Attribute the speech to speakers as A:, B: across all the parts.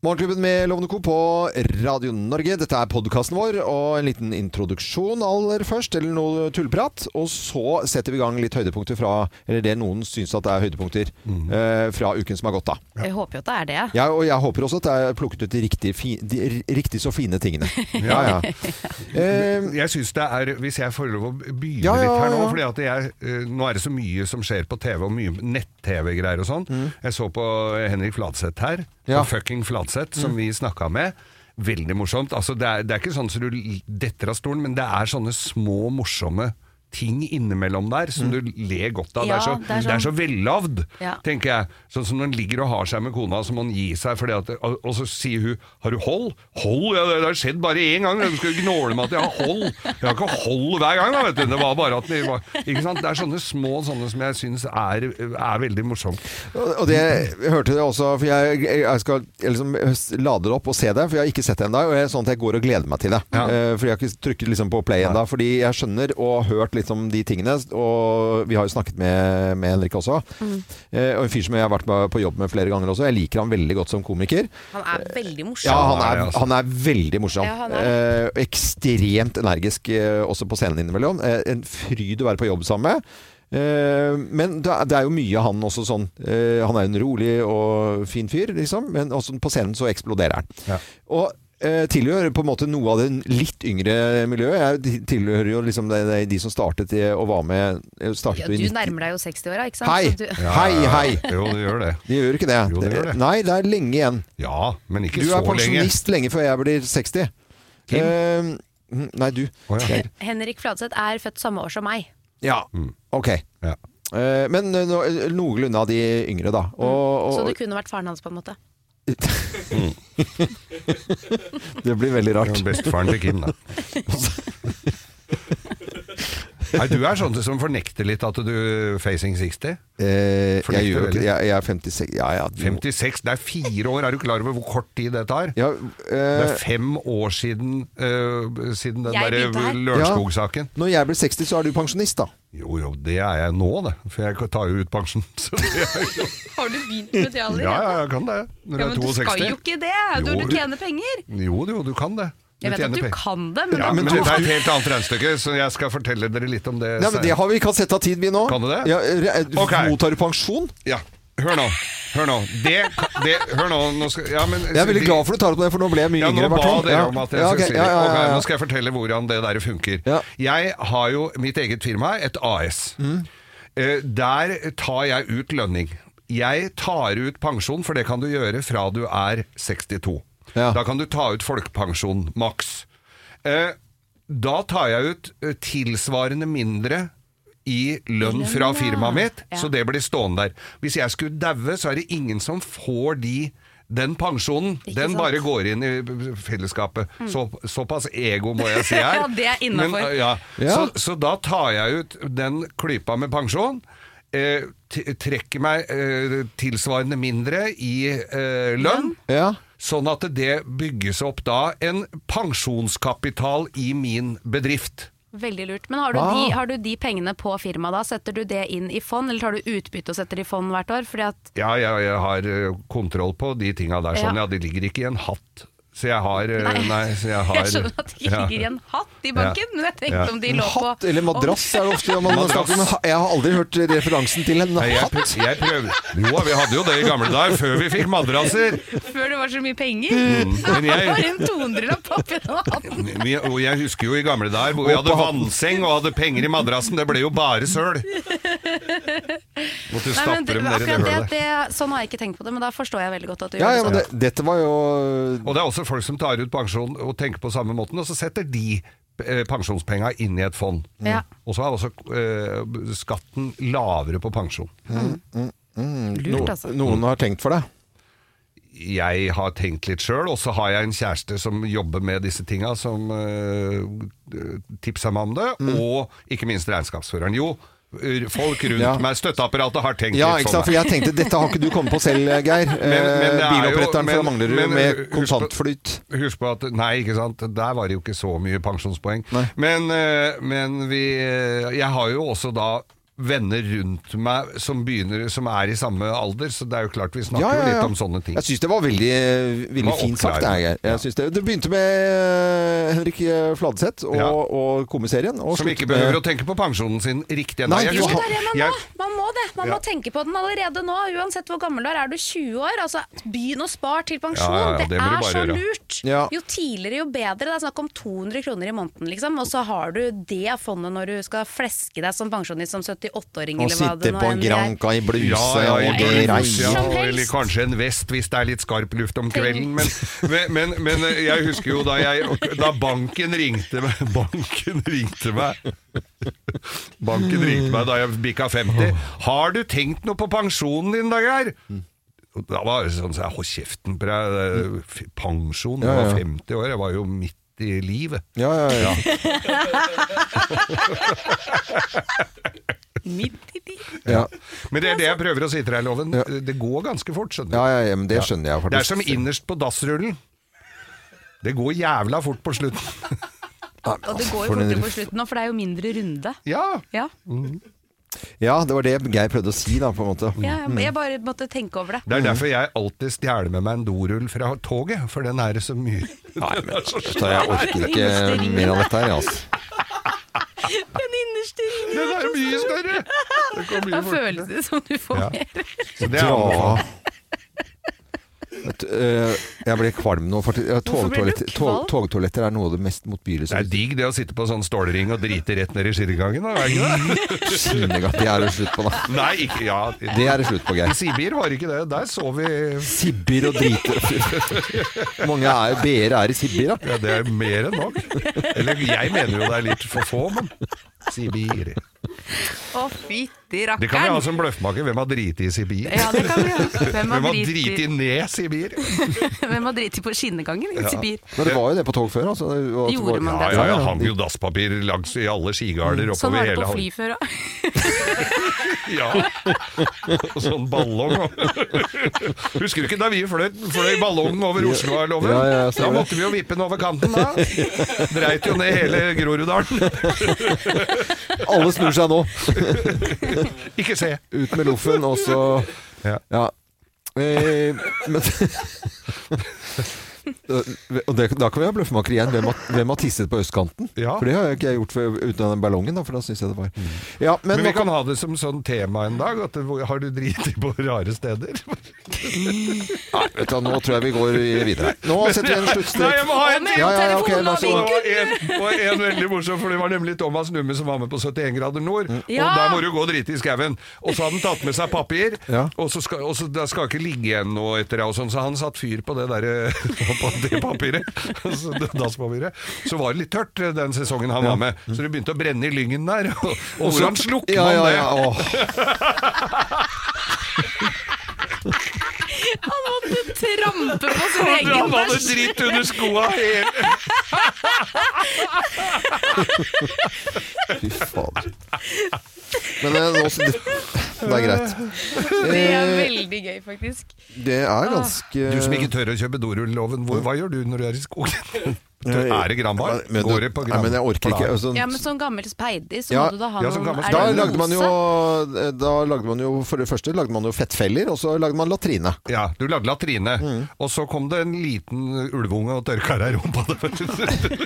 A: Morgenklubben med Lovende Co. på Radio Norge. Dette er podkasten vår, og en liten introduksjon aller først, eller noe tulleprat. Og så setter vi i gang litt høydepunkter fra Eller det noen syns at det er høydepunkter eh, fra uken som har gått, da.
B: Jeg håper jo at det er det.
A: Ja, og jeg håper også at det er plukket ut de riktig, fi, de r- riktig så fine tingene. Ja, ja. Eh,
C: Jeg synes det er, Hvis jeg får lov å begynne
A: Ja, ja,
C: litt her nå
A: ja.
C: fordi at jeg, eh, Nå er det så mye som skjer på TV, og mye nett-TV-greier og sånn. Jeg så på Henrik Fladseth her,
A: Mm. Ja. Mm.
C: på Fucking Fladseth, som vi snakka med. Veldig morsomt. Altså, det, er, det er ikke sånn som du l- detter av stolen, men det er sånne små, morsomme ting innimellom der
A: Mm.
C: som du ler godt av.
B: Ja,
C: det, er så,
B: det er sånn-
C: det er så vellavd,
B: Ja.
C: tenker jeg. Sånn som når han ligger og har seg med kona, så må han gi seg. Fordi at, og, og så sier hun 'har du hold'? Hold? Ja, det, det har skjedd bare én gang. Du skal gnåle med at jeg har hold. Jeg har ikke hold hver gang, da, vet du. Det var bare at det var Ikke sant. Det er sånne små sånne som jeg syns er, er veldig morsomt.
A: Og det jeg hørte jeg også, for jeg, jeg skal liksom lade det opp og se det, for jeg har ikke sett det ennå. Og jeg er sånn at jeg går og gleder meg til det.
C: Ja.
A: Eh, For jeg har ikke trykket liksom på play ennå. Fordi jeg skjønner og hørt litt om de tingene. Og vi har jo snakket med, med Henrik også. Eh, Og en fyr som jeg har vært med på jobb med flere ganger også. Jeg liker ham veldig godt som komiker.
B: Han er veldig morsom.
A: Ja, han
C: han er
A: er,
C: det, altså.
A: han er veldig morsom.
B: Ja, han er.
A: Eh, ekstremt energisk eh, også på scenen innimellom. Eh, en fryd å være på jobb sammen med. Eh, men det er, det er jo mye han også sånn eh, Han er jo en rolig og fin fyr, liksom, men også på scenen så eksploderer han.
C: Ja.
A: Og eh, tilhører på en måte noe av det litt yngre miljøet. Jeg ti- tilhører jo liksom de, de, de som startet i- og var med eh, startet
B: Ja,
A: jo i
B: du
A: 90
B: nærmer deg jo 60-åra, ikke sant?
A: Hei!
B: Så du-
A: Hei, hei!
C: Jo, det gjør det.
A: De gjør ikke det.
C: Jo, de gjør det.
A: Nei, det er lenge igjen.
C: Ja, men ikke
A: Du
C: så
A: er
C: lenge.
A: pensjonist lenge før jeg blir 60.
C: Kim?
A: Eh, nei, du.
C: Å, ja.
B: Henrik Fladseth er født samme år som meg.
A: Ja. Ok.
C: Mm. Ja.
A: Eh, men eh, no, noenlunde av de yngre, da. Og,
B: Mm. Så
A: og,
B: du kunne vært faren hans, på en måte.
A: det blir veldig
C: Det
A: rart.
C: var Bestefaren til Kim, da. Nei, du er sånn som fornekter litt at du facing 60.
A: Eh,
C: Fornekter
A: jeg, gjør, jo ikke-
C: veldig.
A: jeg, jeg er 56 Ja, ja. du-
C: 56, det er fire år. Er du klar over hvor kort tid det tar?
A: ja
C: Det
A: eh,
C: er fem år siden, eh, siden den
B: Jeg begynte
C: der
B: her.
C: Lørenskog-saken.
A: når jeg blir 60, så er du pensjonist, da.
C: Jo, jo, det er jeg nå, det. For jeg tar jo ut pensjon. Så det er,
B: Har du begynt med det
C: ja, ja, jeg kan det. Når jeg er 62.
B: ikke det!
C: når Jo. du tjener
B: penger!
C: Jo, jo, du kan det. Du
B: Jeg vet at
C: tjener
B: du
C: penger.
B: kan det, men,
C: Ja, men
B: du,
C: dette er et helt annet regnestykke, så jeg skal fortelle dere litt om det.
A: Nei, men Det har vi kan sette av tid, vi nå.
C: Kan du det?
A: Ja, eh, re-
C: Ok.
A: Mottar du pensjon?
C: Ja, hør nå. Hør nå. Det, det, hør nå. nå skal, ja, men,
A: Jeg er veldig glad for du tar opp det, for nå ble jeg mye
C: ja,
A: yngre.
C: nå ba
A: Bertrand.
C: dere om at jeg
A: ja, ok,
C: skulle si det.
A: ja, ja, ja,
C: Ok,
A: ja.
C: nå skal jeg fortelle hvordan det der funker.
A: Ja.
C: Jeg har jo mitt eget firma, et AS.
A: Mm.
C: Eh, Der tar jeg ut lønning. Jeg tar ut pensjon, for det kan du gjøre fra du er 62.
A: Ja.
C: Da kan du ta ut folkepensjon, maks. Eh, Da tar jeg ut eh, tilsvarende mindre i lønn fra
B: ja.
C: firmaet mitt,
B: Ja.
C: så det blir stående der. Hvis jeg skulle daue, så er det ingen som får de den pensjonen.
B: Ikke
C: Den
B: sant?
C: bare går inn i fellesskapet. Så, såpass ego må jeg si her.
B: Ja, det er innenfor.
C: Men, ja.
A: Ja.
C: Så, så da tar jeg ut den klypa med pensjon. Eh, t- trekker meg eh, tilsvarende mindre i eh, lønn.
A: Ja.
C: Sånn at det bygges opp da en pensjonskapital i min bedrift.
B: Veldig lurt. Men har du,
A: Ah.
B: de, har du de pengene på firmaet da? Setter du det inn i fond, eller tar du utbytte og setter det i fond hvert år? Fordi at
C: Ja, jeg, jeg har eh, kontroll på de tinga der. Sånn,
B: Ja.
C: ja. De ligger ikke i en hatt. Så jeg har eh,
B: Nei.
C: Nei, så jeg har
B: Jeg skjønner at det ikke
C: ja.
B: ligger i en hatt i banken,
C: Ja.
B: men jeg tenkte
C: Ja.
B: om de
A: En
B: lå på
A: hatt eller madrass er det ofte man
C: Madrass.
A: snakker om. men ha- Jeg har aldri hørt referansen til en
C: Nei, jeg,
A: hatt.
C: prøv- jeg prøvde Jo, vi hadde jo det i gamle dager, før vi fikk madrasser.
B: om, før det var så mye penger.
C: Men
B: Det var
C: jeg,
B: en 200-lapp oppi den hatten!
C: vi, og jeg husker jo i gamle dager hvor vi hadde vannseng og hadde penger i madrassen. Det ble jo bare søl. Måtte
B: Nei, men
C: stappe
B: det,
C: dem ned i det
B: akkurat det,
C: hølet.
B: det, sånn har jeg ikke tenkt på det, men da forstår jeg veldig godt at du
A: Ja, ja,
B: gjør
A: men
B: det sånn.
A: det, dette var jo
C: Og det er også folk som tar ut pensjon og tenker på samme måten, og så setter de eh, pensjonspenga inn i et fond.
B: Ja.
C: Og så er også eh, skatten lavere på pensjon.
B: Lurt, altså.
A: Noen har tenkt for deg.
C: jeg har tenkt litt sjøl, og så har jeg en kjæreste som jobber med disse tinga, som uh, tipsa meg om det,
A: Mm.
C: og ikke minst regnskapsføreren. Jo, r- folk rundt
A: Ja.
C: meg, støtteapparatet, har tenkt
A: Ja,
C: litt
A: ikke sant?
C: sånn.
A: For jeg tenkte dette har ikke du kommet på selv, Geir. Eh,
C: det er jo-
A: Biloppretteren fra
C: men-
A: Manglerud
C: men
A: med
C: husk på-
A: kontantflyt.
C: Husk på at Nei, ikke sant. Der var det jo ikke så mye pensjonspoeng.
A: Nei.
C: Men, eh, men vi Jeg har eh, jo også da venner rundt meg som, begynner, som er i samme alder, så det er jo klart vi snakker
A: Ja, ja, ja.
C: jo litt om sånne ting.
A: Jeg syns det var veldig, eh, veldig
C: Var
A: fint sagt.
C: oppklarende.
A: Jeg, jeg synes det, det begynte med eh, Henrik eh, Fladseth og,
C: Ja.
A: og komiserien. Og
C: Som
A: sluttet
C: ikke behøver
A: med-
C: å tenke på pensjonen sin riktig ennå.
A: eh, Nei,
C: Jeg
A: jo,
B: Jo,
C: husker-
B: det er det man
C: jeg-
B: må. Man må det. Man
C: Ja.
B: må tenke på den allerede nå, uansett hvor gammel du er. Er du 20 år, altså begynn å spare til pensjon.
C: Ja, ja, ja,
B: det,
C: det må du
B: er
C: bare
B: så
C: gjøre.
B: lurt.
A: Ja.
B: Jo tidligere, jo bedre. Det er snakk om 200 kroner i måneden, liksom. Og så har du det fondet når du skal fleske deg som pensjonist som 78-åring,
A: Å
B: eller hva
A: sitte
B: det nå
A: på
B: enn er.
A: Granca i bluse
C: Ja, ja, i
A: og
B: det
C: blus,
B: reiser.
C: ja,
A: greie.
B: Som helst.
C: eller kanskje en vest hvis det er litt skarp luft om kvelden. Men, men, men, men eh, jeg husker jo da, jeg, da banken ringte meg Banken ringte meg Banken ringte meg da jeg bikka 50. 'Har du tenkt noe på pensjonen din, da, Geir?' Og Da var det sånn så jeg, Hold kjeften på deg. det er f- Pensjon. Jeg
A: Ja, ja.
C: var 50 år. Jeg var jo midt i livet.
A: Ja, ja, ja.
B: Midt i livet.
A: ja.
C: Men det er det jeg prøver å si til deg, Loven. Det går ganske fort, skjønner du.
A: ja, ja, ja men det skjønner jeg.
C: Det er som innerst på dassrullen. Det går jævla fort på slutten.
B: Og det går
A: For
B: jo
A: en-
B: fortere på slutten nå, for det er jo mindre runde.
C: Ja,
B: Ja,
A: Ja, det var det Geir prøvde å si, da, på en måte. Mm.
B: ja jeg, jeg bare måtte tenke over det. Mm.
C: Det er derfor jeg alltid stjeler med meg en dorull fra toget, for den er det så mye Nei, men
A: Så jeg orker ikke mer av dette her, altså.
B: Den innerste ringen!
C: Den er mye større! Det går mye
B: Da
C: fortere.
B: føles det som du får
C: Ja.
B: mer.
C: Så det er
A: Dra
C: anbefalt.
A: Vet du, eh, Jeg ble kvalm nå. faktisk. Ja,
B: Hvorfor ble du
A: Togtoalett- tog-
B: kvalm?
A: Togtoaletter er noe av det mest motbydelige
C: Det er
A: som
C: digg det å sitte på sånn stålring og drite rett ned i skinnegangen, da, er det ikke det?
A: Skinnegang. Det er det slutt på, da.
C: Nei, ikke Ja.
A: Det er det slutt på,
C: I
A: Geir.
C: Sibir var det ikke det. Der så vi
A: Sibir og drite Mange er, BR er i Sibir, da.
C: Ja, det er mer enn nok. Eller jeg mener jo det er litt for få, men Sibir
B: Å, fytti
C: Det kan vi ha
B: rakkeren!
C: som bløffmaker. Hvem har driti i Sibir?
B: Ja, det kan vi ha. Hvem
C: Hvem
B: har
C: har
B: driti
C: driti ned Sibir?
B: Hvem har driti på skinnegangen i
C: Ja.
B: Sibir?
A: Men det var jo det på tog før. Altså. Det var-
B: Gjorde man
C: Ja,
B: det?
C: ja, ja, hang jo dasspapir langs i alle skigarder
B: Sånn
C: oppover
B: var det
C: hele
B: på
C: havn.
B: fly før òg.
C: Ja. Og sånn ballong. og- Husker du ikke da vi fløy, fløy ballongen over Oslo, her, Loven?
A: Ja, ja, jeg ser
C: da
A: det.
C: måtte vi jo vippe den over kanten, da. Dreit jo ned hele Groruddalen.
A: Alle snur seg nå.
C: Ikke se.
A: Ut med loffen, og så
C: Ja.
A: Ja. Eh, men Og det, da kan vi ha bløffmaker igjen. Hvem har, hvem har tisset på østkanten?
C: Ja. Mm.
A: For det har jeg ikke gjort for, uten den ballongen, da, for da syns jeg det var ja, men,
C: Men vi kan ha det som sånn tema en dag. At, det- har du driti på rare steder?
A: Nei, vet du, hva, nå tror jeg vi går videre. Nå setter vi en
C: Nei,
A: sluttstrek.
C: jeg må ha en
A: Ja, ja, ja, ok,
B: telefonen
A: la
B: og
A: oss-
C: Og
B: vinker!
C: en, og en veldig morsom, for det var nemlig Thomas Numme som var med på 71 grader nord.
A: Mm.
B: Ja.
C: Og der må du gå og drite i skauen. Og så hadde han tatt med seg papir,
A: Ja.
C: og så skal, og så, det skal ikke ligge igjen noe etter det. og Sånn, så han satt fyr på det, der, eh, på det papiret. Så, det dasspapiret. så var det litt tørt eh, den sesongen han var med, så det begynte å brenne i lyngen der. Og, og hvordan slukker
A: ja, ja,
C: man det?
A: ja, åh.
B: Han måtte trampe på sin egen
C: Han hadde
B: bæsj!
C: dritt under skoa! hele-
A: Fy fader. Men eh, nå, det, det er greit.
B: Det er
A: Eh,
B: veldig gøy, faktisk.
A: det er ganske
C: Ah. Du som ikke tør å kjøpe dorull-loven, hvor- hva gjør du når du er i skogen? Er det granbar?
A: Men du-
C: Går det på
A: Nei,
C: granbar?
A: men jeg orker ikke. Altså,
B: Ja, men som gammel speider, så
A: Ja. sånn
B: må du da ha
C: Ja, som
B: noen
C: gammel
B: er
A: Da
B: det
A: lagde man jo eh,
B: rose?
A: Da lagde man jo For det første lagde man jo fettfeller, og så lagde man latrine.
C: Ja, du lagde latrine,
A: Mm.
C: og så kom det en liten ulveunge og tørka deg i rumpa.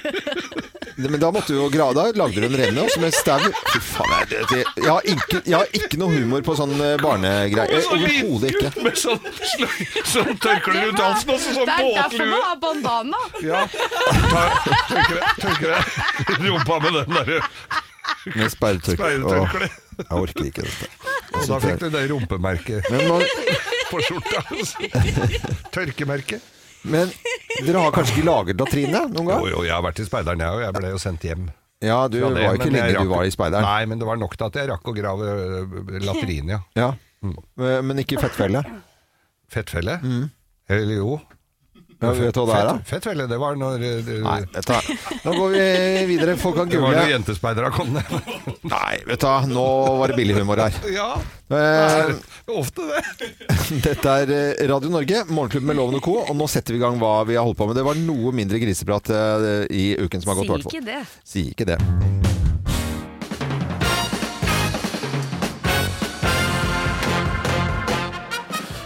A: Men da måtte du jo gra- Da lagde du en renne, og så med stau Fy faen, jeg, det, det, jeg, har ikke, jeg har ikke noe humor på sånn eh, barnegreier. Eh, Overhodet ikke.
C: Med sånn, sl- sånn tørker du rundt halsen og så sånn
B: Det er derfor
C: båtlue.
B: man har bandana!
C: Ja, ta- tørker deg- tørker deg rumpa med den derre
A: Med sperretørkle. Åh,
C: speidetørkleet.
A: Jeg orker ikke dette.
C: Og da fikk du det rumpemerket
A: Men, man,
C: på skjorta. Tørkemerket.
A: men dere har kanskje ikke laget latrine noen
C: Jo,
A: gang?
C: jo, jeg har vært i speideren, jeg òg. Jeg ble jo sendt hjem.
A: Ja, du
C: fra
A: var
C: det,
A: jo
C: men
A: ikke
C: jeg
A: lenge
C: rakk-
A: du var i speideren.
C: Nei, men det var nok til at jeg rakk å grave øh, latrine, ja. Mm.
A: Ja. Eh, Men ikke fettfelle. Mm.
C: Fettfelle? Eller jo.
A: Ja, vet du hva det er, da?
C: Fett- Fettfelle, det var når eh, det,
A: Nei, vet du hva. Nå går vi videre. Folk kan
C: det var
A: google.
C: når jentespeidere kom ned.
A: Nei, vet du hva. Nå var det billig humor her.
C: ja,
A: Eh,
C: ofte det.
A: Dette er eh, Radio Norge, Morgenklubben med Loven og Co. Og nå setter vi i gang hva vi har holdt på med. Det var noe mindre griseprat eh, i uken som har gått, i
B: Si
A: hvert fall.
B: ikke det.
A: Si ikke det.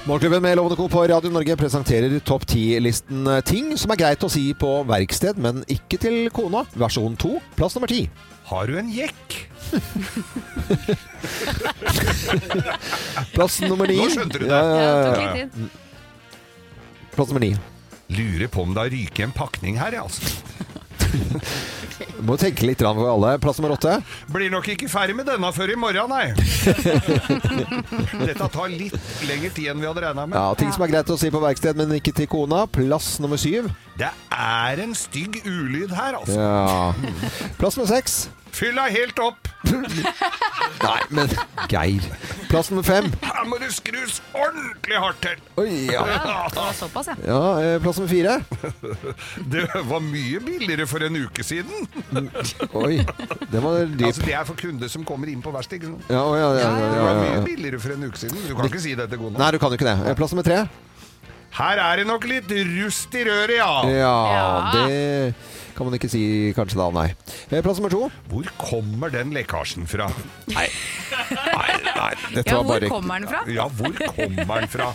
A: Morgenklubben med Lovende Co. på Radio Norge presenterer topp 10-listen ting som er greit å si på verksted, men ikke til kona. Versjon 2, plass nummer 10.
C: Har du en jekk?
A: Plass nummer 9.
C: Nå skjønte du det.
A: Ja, ja,
B: Ja, det
A: ja,
B: tok
A: ja.
B: litt tid.
A: Plass nummer 9.
C: Lurer på om det har ryket en pakning her, jeg, altså.
A: Må tenke litt grann for alle. Plass nummer 8.
C: Blir nok ikke ferdig med denne før i morgen, nei. Dette tar litt lengre tid enn vi hadde regna med.
A: Ja, ting som er greit å si på verksted, men ikke til kona. Plass nummer 7.
C: Det er en stygg ulyd her, altså.
A: Ja. Plass nummer 6.
C: Fylla helt opp!
A: Nei, men Geir. Plass nummer 5.
C: Her må du skrus ordentlig hardt til!
A: Oi, ja.
B: Ja, det var såpass, ja.
A: ja eh, plass nummer 4.
C: Det var mye billigere for en uke siden.
A: Oi, den var dyp.
C: Altså, det er for kunder som kommer inn på verksted. ikke sant?
A: Ja, å, ja, ja, ja,
C: Det
A: ja,
C: var mye
A: ja.
C: billigere for en uke siden. Du kan ikke si det til kona.
A: Nei, du kan jo ikke det. Eh, Plass nummer 3.
C: Her er det nok litt rust i røret, ja.
A: Ja,
B: Ja.
A: det kan man ikke si kanskje da, nei. Eh, Plass nummer to.
C: Hvor kommer den lekkasjen fra? Nei, nei, nei.
A: Dette
D: Ja,
A: var
D: hvor
A: bare-
D: kommer den fra?
C: Ja, hvor kommer den fra?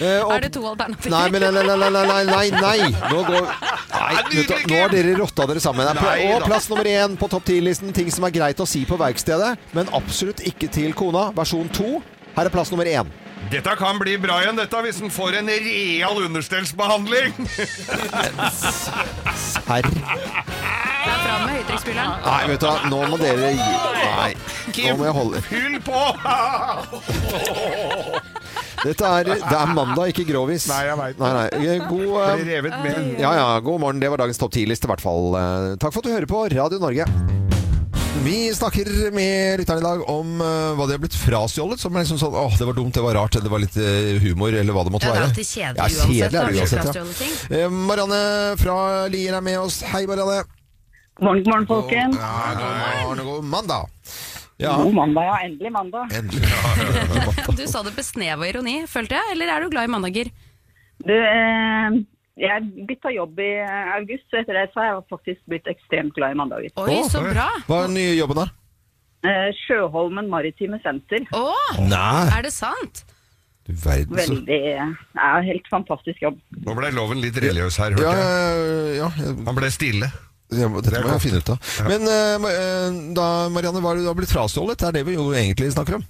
A: Eh, og-
D: Er det to alternativer?
A: Nei, men nei, nei, nei, nei, nei, nei, nei. Nå går Nei,
C: Det er nydelig,
A: vet du hva, nå har dere rotta dere sammen. Det er pla-
C: Nei da.
A: og plass nummer én på topp ti-listen. Ting som er greit å si på verkstedet, men absolutt ikke til kona. Versjon to. Her er plass nummer én.
C: Dette kan bli bra igjen, dette, hvis den får en real understellsbehandling.
A: Herr
D: Det er fram med høytrykksspilleren.
A: Nei, vet du hva, nå må dere gi Nei. Nå må jeg holde
C: Fyll på!
A: Dette er, det er mandag, ikke grovis.
C: Nei, jeg vet.
A: Nei, nei. God
C: Blir
A: eh,
C: revet med.
A: Ja, ja. God morgen. Det var dagens topp 10-liste, i hvert fall. Eh, Takk for at du hører på Radio Norge. Vi snakker med lytterne i dag om eh, hva de har blitt frastjålet. Som er liksom sånn åh, det var dumt, det var rart, det var litt eh, humor, eller hva det måtte
B: Ja, det er
A: være.
B: alltid kjedelig
A: Ja,
B: uansett,
A: kjedelig er
B: da,
A: det
B: hvis du
A: uansett, ja.
B: frastjålet
A: Eh, Marianne fra Lier er med oss. Hei, Marianne.
E: Morgen, morgen, folkens.
A: Ja, god morgen og god mandag. Ja,
E: God mandag, ja. Endelig mandag.
A: endelig.
D: Du sa det besneva ironi, følte jeg, eller er du glad i mandager?
E: Du, eh, jeg bytta jobb i eh, august, så etter det så har jeg faktisk blitt ekstremt glad i mandager.
D: Oi,
A: Å,
D: så
C: oi.
D: bra!
A: Hva er den nye jobben, da?
E: Eh, Sjøholmen maritime senter.
D: Å,
A: Nei,
D: er det sant?
A: du verden så
E: Veldig ja, Helt fantastisk jobb.
C: Nå ble loven litt religiøs her,
A: Ja,
C: hørte jeg.
A: ja, ja, jeg-
C: Han ble stille.
A: Jeg må- Dette
C: Det er
A: må jeg
C: godt.
A: finne ut av. Men eh, ma- eh, da, Marianne, hva er det du har blitt frastjålet? Det er det vi jo egentlig snakker om.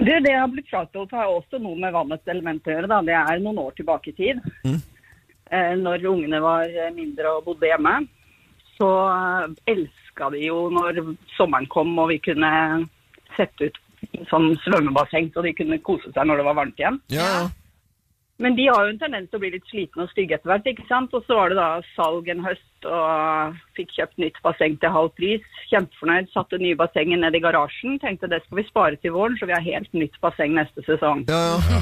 E: Du, det jeg har blitt frastjålet har også noe med vannets element å gjøre. Da. Det er noen år tilbake i tid.
A: Mm.
E: Eh, når ungene var eh, mindre og bodde hjemme, så eh, elska de jo når sommeren kom og vi kunne sette ut sånn svømmebasseng så de kunne kose seg når det var varmt igjen.
A: Ja, ja.
E: Men de har jo en tendens til å bli litt slitne og stygge etter hvert, ikke sant? Og så var det da salg en høst, og fikk kjøpt nytt basseng til halv pris. Kjempefornøyd, satte nye bassenget ned i garasjen. Tenkte det skal vi spare til våren, så vi har helt nytt basseng neste sesong.
A: ja, ja.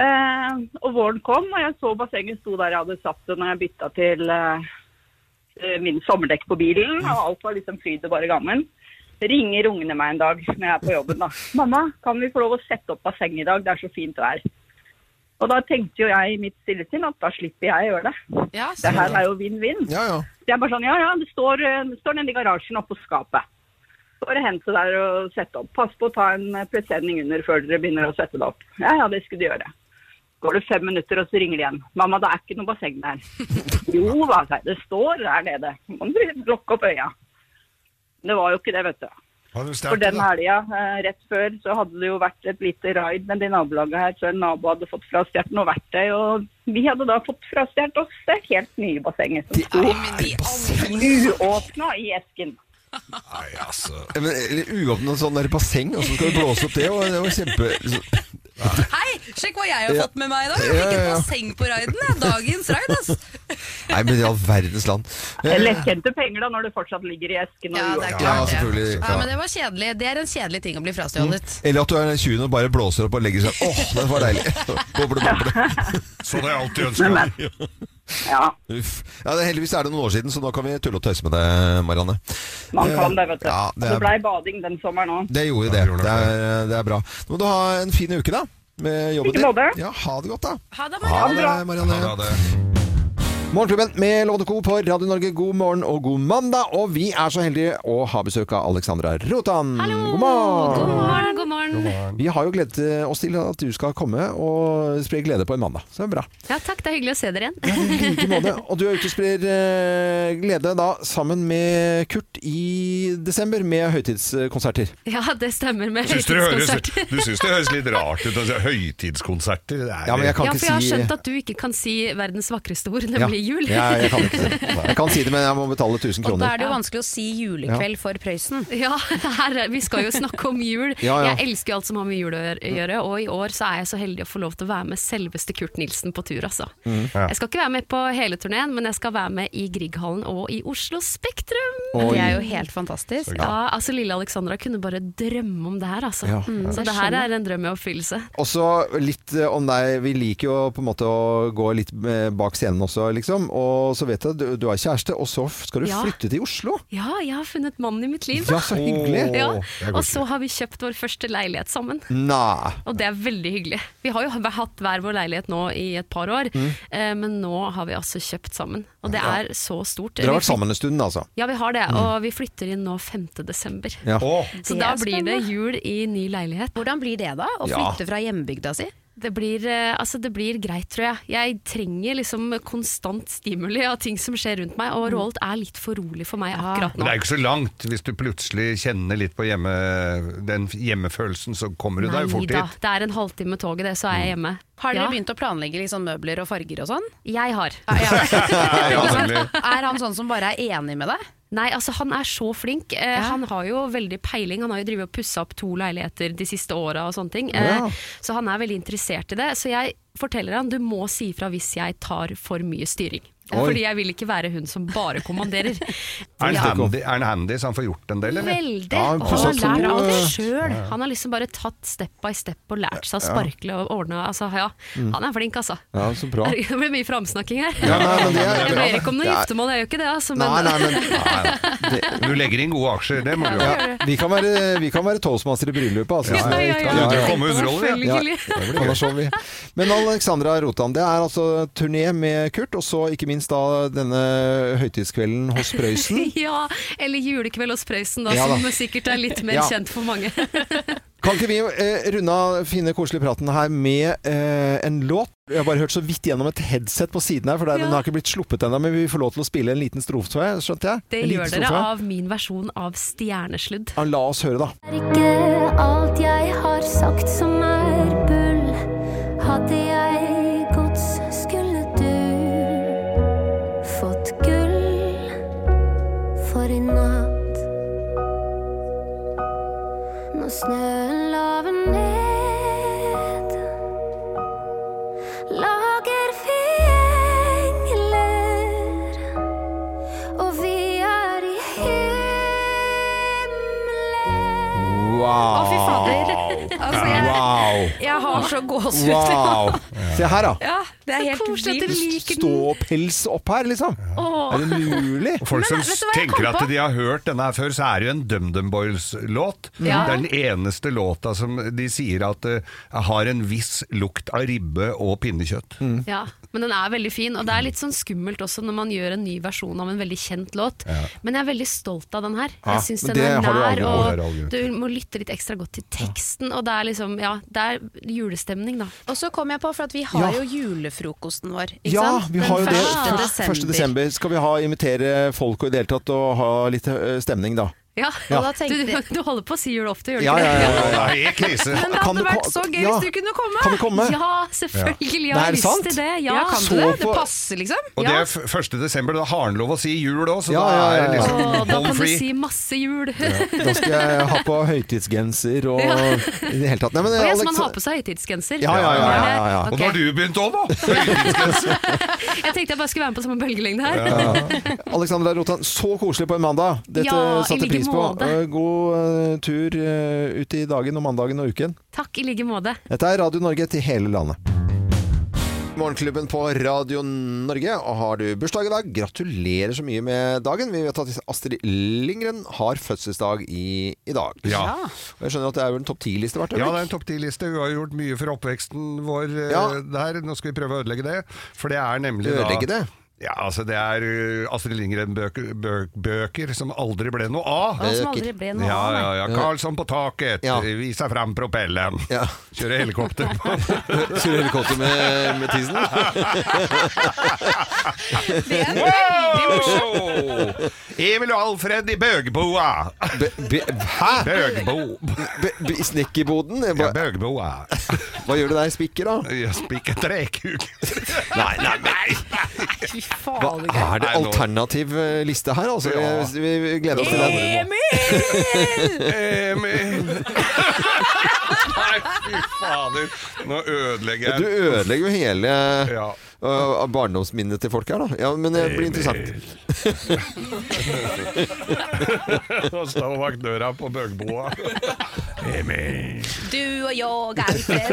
E: Eh, og våren kom, og jeg så bassenget sto der jeg hadde satt det når jeg bytta til eh, min sommerdekk på bilen, og alt var liksom fryd og bare gammen. Ringer ungene meg en dag når jeg er på jobben da. 'Mamma, kan vi få lov å sette opp bassenget i dag? Det er så fint vær.' Og da tenkte jo jeg i mitt stille sinn at da slipper jeg å gjøre det.
D: Ja, så
E: Det her er jo vinn-vinn.
A: ja, ja.
E: Det er bare sånn, ja, ja, det står, eh, det står nede i garasjen oppå skapet. Bare hent det der og sette opp. Pass på å ta en eh, presenning under før dere begynner å sette det opp. Ja, ja, det skulle de gjøre. Går det fem minutter, og så ringer de igjen. Mamma, det er ikke noe basseng der. Jo da, sa jeg, det står der nede. Man må lukke opp øya. Det var jo ikke det, vet du.
C: Var det
E: For
C: sterkt,
E: den
C: da?
E: helga eh, rett før så hadde det jo vært et lite raid med de nabolaget her, så en nabo hadde fått frastjålet noe verktøy, og vi hadde da fått frastjålet oss det helt nye bassenget som sto uåpna i esken.
C: Nei, altså.
A: Men, eller uåpnet sånn der basseng, og så skal du blåse opp det, og det var kjempe... så-
D: Hei, sjekk hva jeg har
A: Ja.
D: fått med meg i dag!
A: Ja,
D: Jeg fikk
A: ja,
D: et
A: ja.
D: basseng på raiden, jeg. Dagens altså. raid, ass.
A: Nei, men i all verdens land. Eh,
E: Lettkjente penger da, når det fortsatt ligger i esken. Og
D: Ja, det er
E: uåpnet.
A: Ja,
D: klart det.
A: selvfølgelig.
D: Ja, men det var kjedelig. Det er en kjedelig ting å bli frastjålet.
A: Eller at du er den tjuen og bare blåser opp og legger seg. Åh, det var deilig. Boble, boble.
C: Sånn har jeg alltid ønska.
E: ja,
A: Uff. Ja, det, heldigvis er det noen år siden, så nå kan vi tulle og tøyse med det, Marianne.
E: man kan det, vet du.
A: Ja,
E: Og
A: det
E: det,
A: er-
E: blei bading den sommeren òg.
A: Det gjorde det.
C: Ja, det gjorde det.
A: Det er, det er bra. Nå må du ha en fin uke, da. Med jobben
E: Like måte.
A: Ja, ha det godt, da.
D: Ha det,
A: Ha
D: Marianne.
A: det,
E: bra.
A: Marianne.
C: Ja, det.
A: Morgenklubben med Lovende Co på Radio Norge, god morgen og god mandag. Og vi er så heldige å ha besøk av Alexandra Rotan. God
D: God
A: morgen!
D: morgen, god morgen.
A: Vi har jo gledet oss til at du skal komme og spre glede på en mandag. Så det er bra.
D: Ja, takk, det er hyggelig å se dere
A: I
D: igjen.
A: like måte. Og du er ute og sprer eh, glede da sammen med Kurt i desember med høytidskonserter.
D: Ja, det stemmer med
C: Syns dere høres,
D: høytidskonsert.
C: du syns det høres litt rart ut? Altså, høytidskonserter? Det er,
A: Ja, men jeg kan
D: Ja,
A: ikke
D: for
A: si
D: jeg har skjønt at du ikke kan si verdens vakreste ord, nemlig
A: Ja.
D: jul.
A: Ja, jeg kan ikke si det. Jeg kan si det, men jeg må betale 1000
B: Og da
A: kroner.
B: er det jo vanskelig å si julekveld for Prøysen.
D: Ja, her, er- vi skal jo snakke om jul.
A: Ja, ja.
D: Jeg elsker jo alt som har med jul å gjøre- gjøre, og i år så er jeg så heldig å få lov til å være med selveste Kurt Nilsen på tur, altså.
A: Mm.
C: Ja.
D: Jeg skal ikke være med på hele turneen, men jeg skal være med i Grieghallen og i Oslo Spektrum.
B: Det er jo helt fantastisk.
D: Ja, altså Lille Alexandra kunne bare drømme om det her, altså.
A: Ja.
D: Mm, Så det her er en drøm i oppfyllelse.
A: Og så litt eh, om deg. Vi liker jo på en måte å gå litt eh, bak scenen også, liksom. Og så vet jeg at du, du har kjæreste, og så f- skal du
D: Ja.
A: flytte til Oslo.
D: Ja, jeg har funnet mannen i mitt liv.
A: Ja, så hyggelig.
D: Ja,
C: det er
D: Og
C: koselig.
D: så har vi kjøpt vår første leilighet sammen.
A: Nei.
D: Og det er veldig hyggelig. Vi har jo h- hatt hver vår leilighet nå i et par år,
A: Mm.
D: eh, men nå har vi altså kjøpt sammen. Og det er så stort.
A: Dere har
D: Vi
A: vært sammen en stund, altså.
D: flyt- Ja, vi har det, og vi flytter inn nå 5. desember.
A: Ja.
C: Åh,
D: Så
B: Det
D: da
B: er
D: blir det jul i ny leilighet.
B: Hvordan blir det da? Å
A: Ja.
B: flytte fra hjembygda si?
D: Det blir, eh, altså det blir greit, tror jeg. Jeg trenger liksom konstant stimuli av ting som skjer rundt meg,
B: Mm.
D: og Roald er litt for rolig for meg akkurat
C: men det er
D: nå.
C: ikke så langt. Hvis du plutselig kjenner litt på hjemme, den hjemmefølelsen, så kommer du deg jo fort Mm.
D: Nei da,
C: dit.
D: det er en halvtime med toget, det, så er jeg hjemme.
B: Har dere
D: Ja,
B: begynt å planlegge liksom møbler og farger og sånn?
D: Jeg har.
C: Ja, nemlig.
B: altså, Er han sånn som bare er enig med deg?
D: Nei, altså han er så flink. Eh, Han har jo veldig peiling. Han har jo drivet og pussa opp to leiligheter de siste åra og sånne ting. Eh,
A: Ja.
D: Så han er veldig interessert i det. Så jeg forteller han du må si ifra hvis jeg tar for mye styring.
A: Oi.
D: Fordi jeg vil ikke være hun som bare kommanderer.
C: Er han
A: Ja.
C: handy, er han handy så han får gjort en del, eller?
D: Veldig.
A: Ja, han
D: og
A: pusser
D: han
A: opp
D: har lært
A: to,
D: alt
A: eh,
D: sjøl. Han har liksom bare tatt step by step og lært seg å sparkle og ordne. Altså, ja. Han er flink, altså.
A: Ja, så Mm. bra.
D: Det ble mye framsnakking her.
A: Ja, nei, men det er
D: jeg
A: bra.
D: ber ikke om noe
A: Det er-
D: giftermål, jeg gjør ikke det, altså.
A: Nei,
D: Men
A: nei, men
C: Du legger inn gode aksjer, det må du
A: ja,
C: gjøre.
A: vi, kan være, vi kan være toastmaster i bryllupet, altså.
D: Ja,
A: så det er
D: ja,
A: ikke-
D: ja,
C: Ja, ja, ja.
D: Tenk på det,
C: Kommer underholder,
A: Ja,
D: selvfølgelig.
A: kan da se om vi- Men Alexandra Rotan, det er altså turné med Kurt, og så ikke minst da denne høytidskvelden hos Prøysen.
D: Ja, eller julekveld hos Prøysen, da,
A: Ja da.
D: som sikkert er litt mer
A: Ja.
D: kjent for mange.
A: Kan ikke vi eh, runde av finne koselig praten her med eh, en låt? Jeg har bare hørt så vidt gjennom et headset på siden her, for det, er-
D: Ja.
A: den har ikke blitt sluppet ennå, men vi får lov til å spille en liten strofe, tror jeg. Skjønte jeg? sånn
D: Det
A: en liten
D: gjør dere
A: strofe.
D: av min versjon av Stjernesludd.
A: Ja, la oss høre, da.
F: er ikke alt jeg har sagt som er bull. Hadde jeg gods, skulle du fått gull for i natt. Når snøen laver ned, lager vi engler og vi er i himmelen.
A: Wow!
B: Å, fy fader. Altså, jeg,
A: Wow!
B: jeg har så gåsehud.
A: wow. Se her, da.
B: Ja, det er
D: Så
B: helt
D: koselig at dere
B: vilt.
D: liker den.
A: Ståpels opp her, liksom. Er det mulig?
C: Og Folk som
B: vet du hva jeg
C: tenker
B: kom
C: at
B: på?
C: de har hørt denne her før, så er det jo en DumDum Boys-låt. Det er den eneste låta som de sier at eh, har en viss lukt av ribbe og pinnekjøtt.
A: Mm.
D: Ja, men den er veldig fin, og det er litt sånn skummelt også når man gjør en ny versjon av en veldig kjent låt. Men jeg er veldig stolt av den her.
A: Ja,
D: Jeg syns
A: men
D: den er
A: det har du
D: nær,
A: aldri-
C: det har du aldri
D: og
C: gjort.
D: du må lytte litt ekstra godt til teksten, og det er liksom, ja, det er julestemning, da.
B: Og så kom jeg på, for at vi har
A: Ja.
B: jo julefrokosten vår. Ikke
A: Ja,
B: sant?
A: vi har jo
B: Den
A: det.
B: første
A: Først- Første
B: desember.
A: desember skal vi ha, invitere folk og i det hele tatt og ha litt eh, stemning, da.
D: Ja,
A: Ja.
B: Og da
D: Du,
B: tenkte jeg
D: du holder på å si jul ofte, gjør du
A: Ja,
D: ikke
A: ja,
D: det?
A: ja, ja,
C: Det
A: ja.
C: er helt krise!
B: Men det
A: Kan
B: hadde
A: du ko-
B: vært så gøy
A: Ja.
B: hvis du kunne komme!
A: Kan du komme?
D: Ja, selvfølgelig.
A: Nei,
D: Jeg
A: er
D: har
A: det
D: lyst
A: sant?
D: til det. Ja.
B: Ja, kan
A: Så
B: du det? Det
A: på-
B: passer, liksom.
C: Og det
B: Ja.
C: er f- 1. desember, da har han lov å si jul òg, så
A: Ja, ja,
C: da
A: ja,
C: er det
A: ja.
C: liksom
D: Å, da
C: hold
D: kan du
C: free.
D: si masse jul.
A: Da skal jeg ha på høytidsgenser og i det hele tatt. Nei, men,
D: Og jeg
A: Alex-
D: som han har på seg høytidsgenser.
A: Ja, ja, ja, ja, ja, ja.
D: Ok.
C: Og nå har du begynt òg, da!
D: Jeg tenkte jeg bare skulle være med på samme bølgelengde her.
A: Alexandra Rotan, så koselig på en mandag. Dette
D: Ja, i
A: satte jeg
D: like
A: pris på.
D: måte.
A: Eh, God eh, tur eh, ut i dagen og mandagen og uken.
D: Takk i like måte.
A: Dette er Radio Norge til hele landet. Morgenklubben på Radio Norge. Og har du bursdag i dag, gratulerer så mye med dagen. Vi vet at Astrid Lindgren har fødselsdag i, i dag.
C: Ja.
A: Og jeg skjønner at det er vel en topp ti-liste hvert
C: Ja, det er en
A: øyeblikk.
C: topp 10-liste. Hun har gjort mye for oppveksten vår eh,
A: Ja.
C: der. Nå skal vi prøve å ødelegge det. For det er nemlig
A: Ødelegge det?
C: da Ja, altså Det er ø, Astrid Lindgren-bøker bø- bøker som aldri ble noe av.
B: Og som aldri ble noe
C: Ja,
B: av.
C: ja,
B: nei.
C: ja. Karlsson på taket,
A: Ja.
C: vis deg fram propellen.
A: Ja.
C: Kjøre helikopter på.
A: Kjører helikopter med, med tissen.
B: Det er
C: Wow! Emil og Alfred i Bøgboa.
A: Be, be, hæ?
C: Bøgbo.
A: Be, be, Snekkerboden?
C: Ja,
A: Hva,
C: Bøgboa.
A: hva gjør du der, spikker, da?
C: Jeg spikker trekuk.
A: Nei, nei,
B: Fy
A: Hva
B: faen.
A: er det
C: Nei, nå-
A: alternativ eh, liste her, altså?
C: Ja.
A: Vi, vi, vi gleder oss til den.
C: Emil! Nei, fy fader. Nå ødelegger jeg.
A: Du ødelegger jo hele
C: Ja.
A: eh, barndomsminnet til folk her, da. Ja, men eh, det blir interessant.
C: Og stå bak døra på Bøgboa. Emil.
B: Du og jeg, Alfred.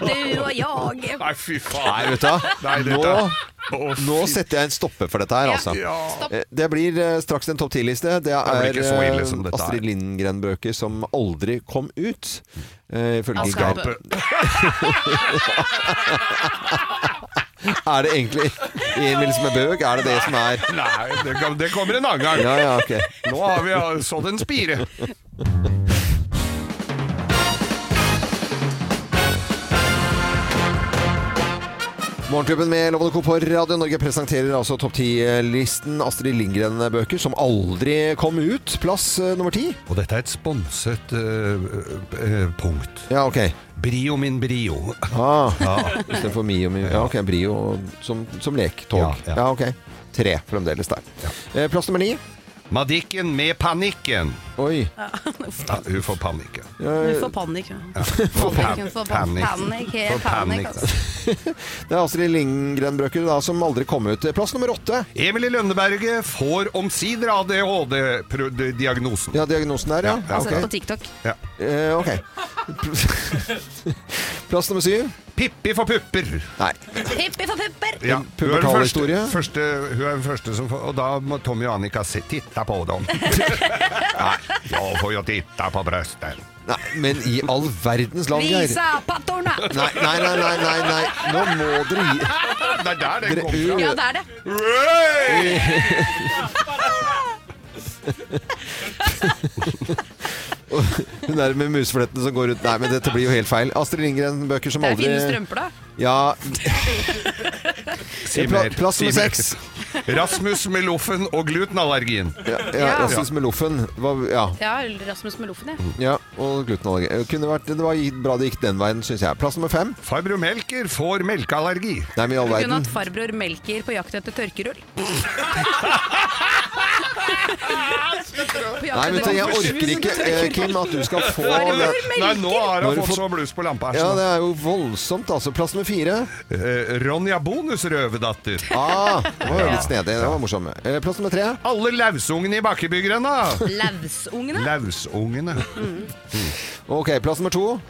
B: Du og jeg.
C: Nei, fy
A: Nei,
C: faen.
A: vet du hva.
C: Nei, dette-
A: Nå,
C: Å, fy-
A: nå setter jeg en stopper for dette her,
B: Ja.
A: altså.
C: Ja.
A: Eh, Det blir eh, straks en topp 10-liste. Det er
C: blir ikke så ille
A: eh,
C: som dette
A: Astrid
C: her.
A: Lindgren-bøker som aldri kom ut. eh, Ifølge
B: Altså,
A: Gap. Er det egentlig Emil som er bøg? Er det det som er
C: Nei, det, kan, det kommer en annen gang.
A: Ja, ja, ok.
C: Nå har vi ja, sådd en spire.
A: Morgenklubben med Lovende Co. på Radio Norge presenterer altså topp 10-listen Astrid Lindgren-bøker som aldri kom ut. Plass eh, nummer ti.
C: Og dette er et sponset eh, eh, punkt.
A: Ja, ok.
C: Brio min brio.
A: Ah, Istedenfor mi og mi. Ja, ok. Brio som, som lektog.
C: Ja,
A: Ja,
C: ja.
A: ok. Tre fremdeles der. Eh, Plass nummer ni.
C: Madikken med panikken.
A: Oi. eh,
C: Ja, hun får panikken.
B: Du får panikk.
C: Får
B: Panikken, får panikk. Panikk, helt panikk, altså.
A: Det er Astrid Lindgren-bøker da, som aldri kom ut. Plass nummer åtte.
C: Emil i Lønneberget får omsider ADHD-diagnosen.
A: Ja, diagnosen der, ja. ja,
C: Ja,
B: Altså,
A: ok.
B: På TikTok.
A: Eh, ok. Plass nummer syv.
C: Pippi for pupper.
A: Nei.
B: Pippi for pupper!
C: Ja, hun er den
A: pubertal
C: første-
A: historie.
C: første- Hun er den første som får Og da må Tommy og Annika se, titta på dem. Nei, jeg får jo titta på brøstet.
A: nei. Men i all verdens land, Geir.
B: Visa pattorna!
A: Nei, nei, nei, nei, nei, nei. Nå må dere gi
C: Det er der det
A: Dere-
C: kom fra.
B: Ja, det er det.
C: Hey!
A: Hun der med museflettene som går rundt Nei, men dette blir jo helt feil. Astrid Lindgren-bøker som
B: Det er
A: aldri
B: fine strømper, da.
A: Ja,
C: Si
A: Pla-
C: mer,
A: plass
C: si
A: nummer
C: mer.
A: seks.
C: Rasmus med loffen og glutenallergien.
A: ja, ja
B: Ja.
A: Rasmus med loffen. Hva- Ja,
B: Ja, Rasmus med loffen, ja.
A: ja, og glutenallergi. Det Kunne vært, det var bra det gikk den veien, syns jeg. Plass nummer fem.
C: Farbror Melker får melkeallergi.
A: Nei, men i all
B: Du kunne
A: verden.
B: hatt farbror Melker på jakt etter tørkerull. På jakt
A: Nei, vet du,
B: etter
A: jeg orker ikke, eh, Kim, at du skal få det.
C: Nei, nå har
A: Nå har
C: han
A: du
C: fått
A: fått-
C: så bluss på lampa. her,
A: Ja,
C: så-
A: det er jo voldsomt, altså. Plass nummer fire.
C: Eh, Ronja Bonusrøvedatter.
A: Ah, det var jo litt snedig. Det var morsomt. Eh, Plass nummer tre.
C: Alle lausungene i bakkebygrenda.
B: Lausungene?
C: Lausungene.
A: Ok, plass nummer to.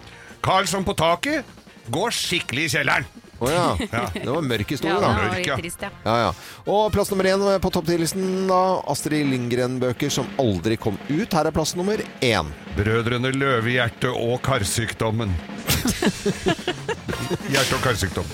C: Karlsson på taket går skikkelig i kjelleren.
A: Å ja. Det var en mørk
B: Ja,
A: historie, da.
B: det var
C: Mørk, ja.
B: litt trist, ja.
A: Ja, ja. Og plass nummer én på topp 10-listen, da. Astrid Lindgren-bøker som aldri kom ut. Her er plass nummer én.
C: Brødrene Løvehjerte og karsykdommen. Hjerte- og karsykdom.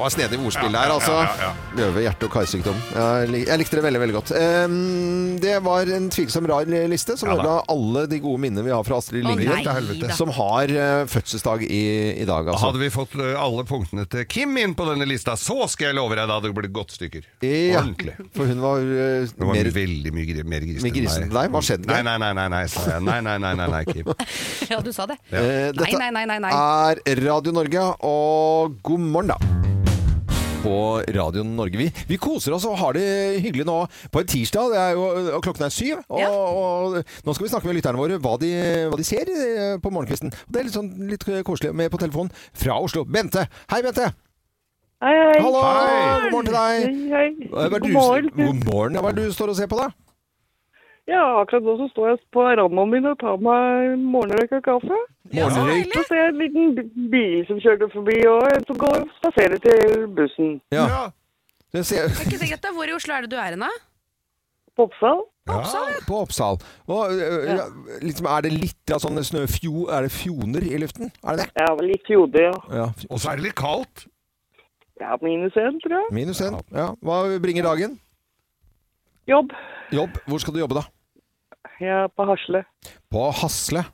A: Og er snedig ordspill
C: Ja,
A: her,
C: ja,
A: altså.
C: ja, ja, ja.
A: Løve, hjerte- og karsykdom. Jeg lik- jeg likte det veldig, veldig godt. Ehm, det var en tvilsom rar liste, som
C: Ja, da.
A: ødela alle de gode minnene vi har fra Astrid Lindgren,
B: nei, Til helvete. da.
A: som har eh, fødselsdag i, i dag, altså.
C: Hadde vi fått eh, alle punktene til Kim inn på denne lista, så skal jeg love deg, da hadde det blitt godt stykker.
A: Ja,
C: Ordentlig.
A: for hun var, eh,
C: Det var
A: mer
C: veldig mye, gri- mer grisete
A: Mye grisete enn deg? Hva skjedde?
C: Nei, nei, nei, nei, nei, sa jeg. Nei, nei, nei, nei, nei, Kim.
B: Ja, du sa det.
A: Eh, dette
B: nei, nei, nei, nei.
A: er Radio Norge, og god morgen, da. På Radio Norge. Vi, vi koser oss og har det hyggelig nå på en tirsdag. Det er jo, og klokken er syv. Og,
B: Ja.
A: og, nå skal vi snakke med lytterne våre hva de, hva de ser eh, på morgenkvisten. Og det er litt, sånn, litt koselig med på telefon fra Oslo. Bente. Hei, Bente.
E: Hei, hei.
A: Hallo. God
C: Hei.
A: morgen til deg.
E: Hei, hei.
A: Hva er det
E: God
A: du-
E: morgen.
A: God morgen. Hva er det du står og ser på, da?
E: Ja, akkurat nå så står jeg på verandaen min og tar meg morgenrøyk og kaffe.
A: Morgenrøyk?
E: Så ser jeg en liten bil som kjørte forbi, og en som går og spaserer til bussen.
A: Ja.
C: Ja.
A: Det ser
B: Det er ikke sikkert det. Hvor i Oslo er det du er hen, da?
E: På Oppsal.
C: Ja.
A: På Oppsal. Og, øh, ja, liksom, er det litt av sånne snøfjo... Er det fjoner i luften? Er det det?
E: Ja, vel litt fjode, ja.
A: Ja.
C: Og så er det litt kaldt.
E: Ja, minus én, tror jeg.
A: Minus én. Ja. Hva bringer dagen?
E: Jobb.
A: Jobb. Hvor skal du jobbe, da?
E: Jeg er på Hasle.
A: På Hasle.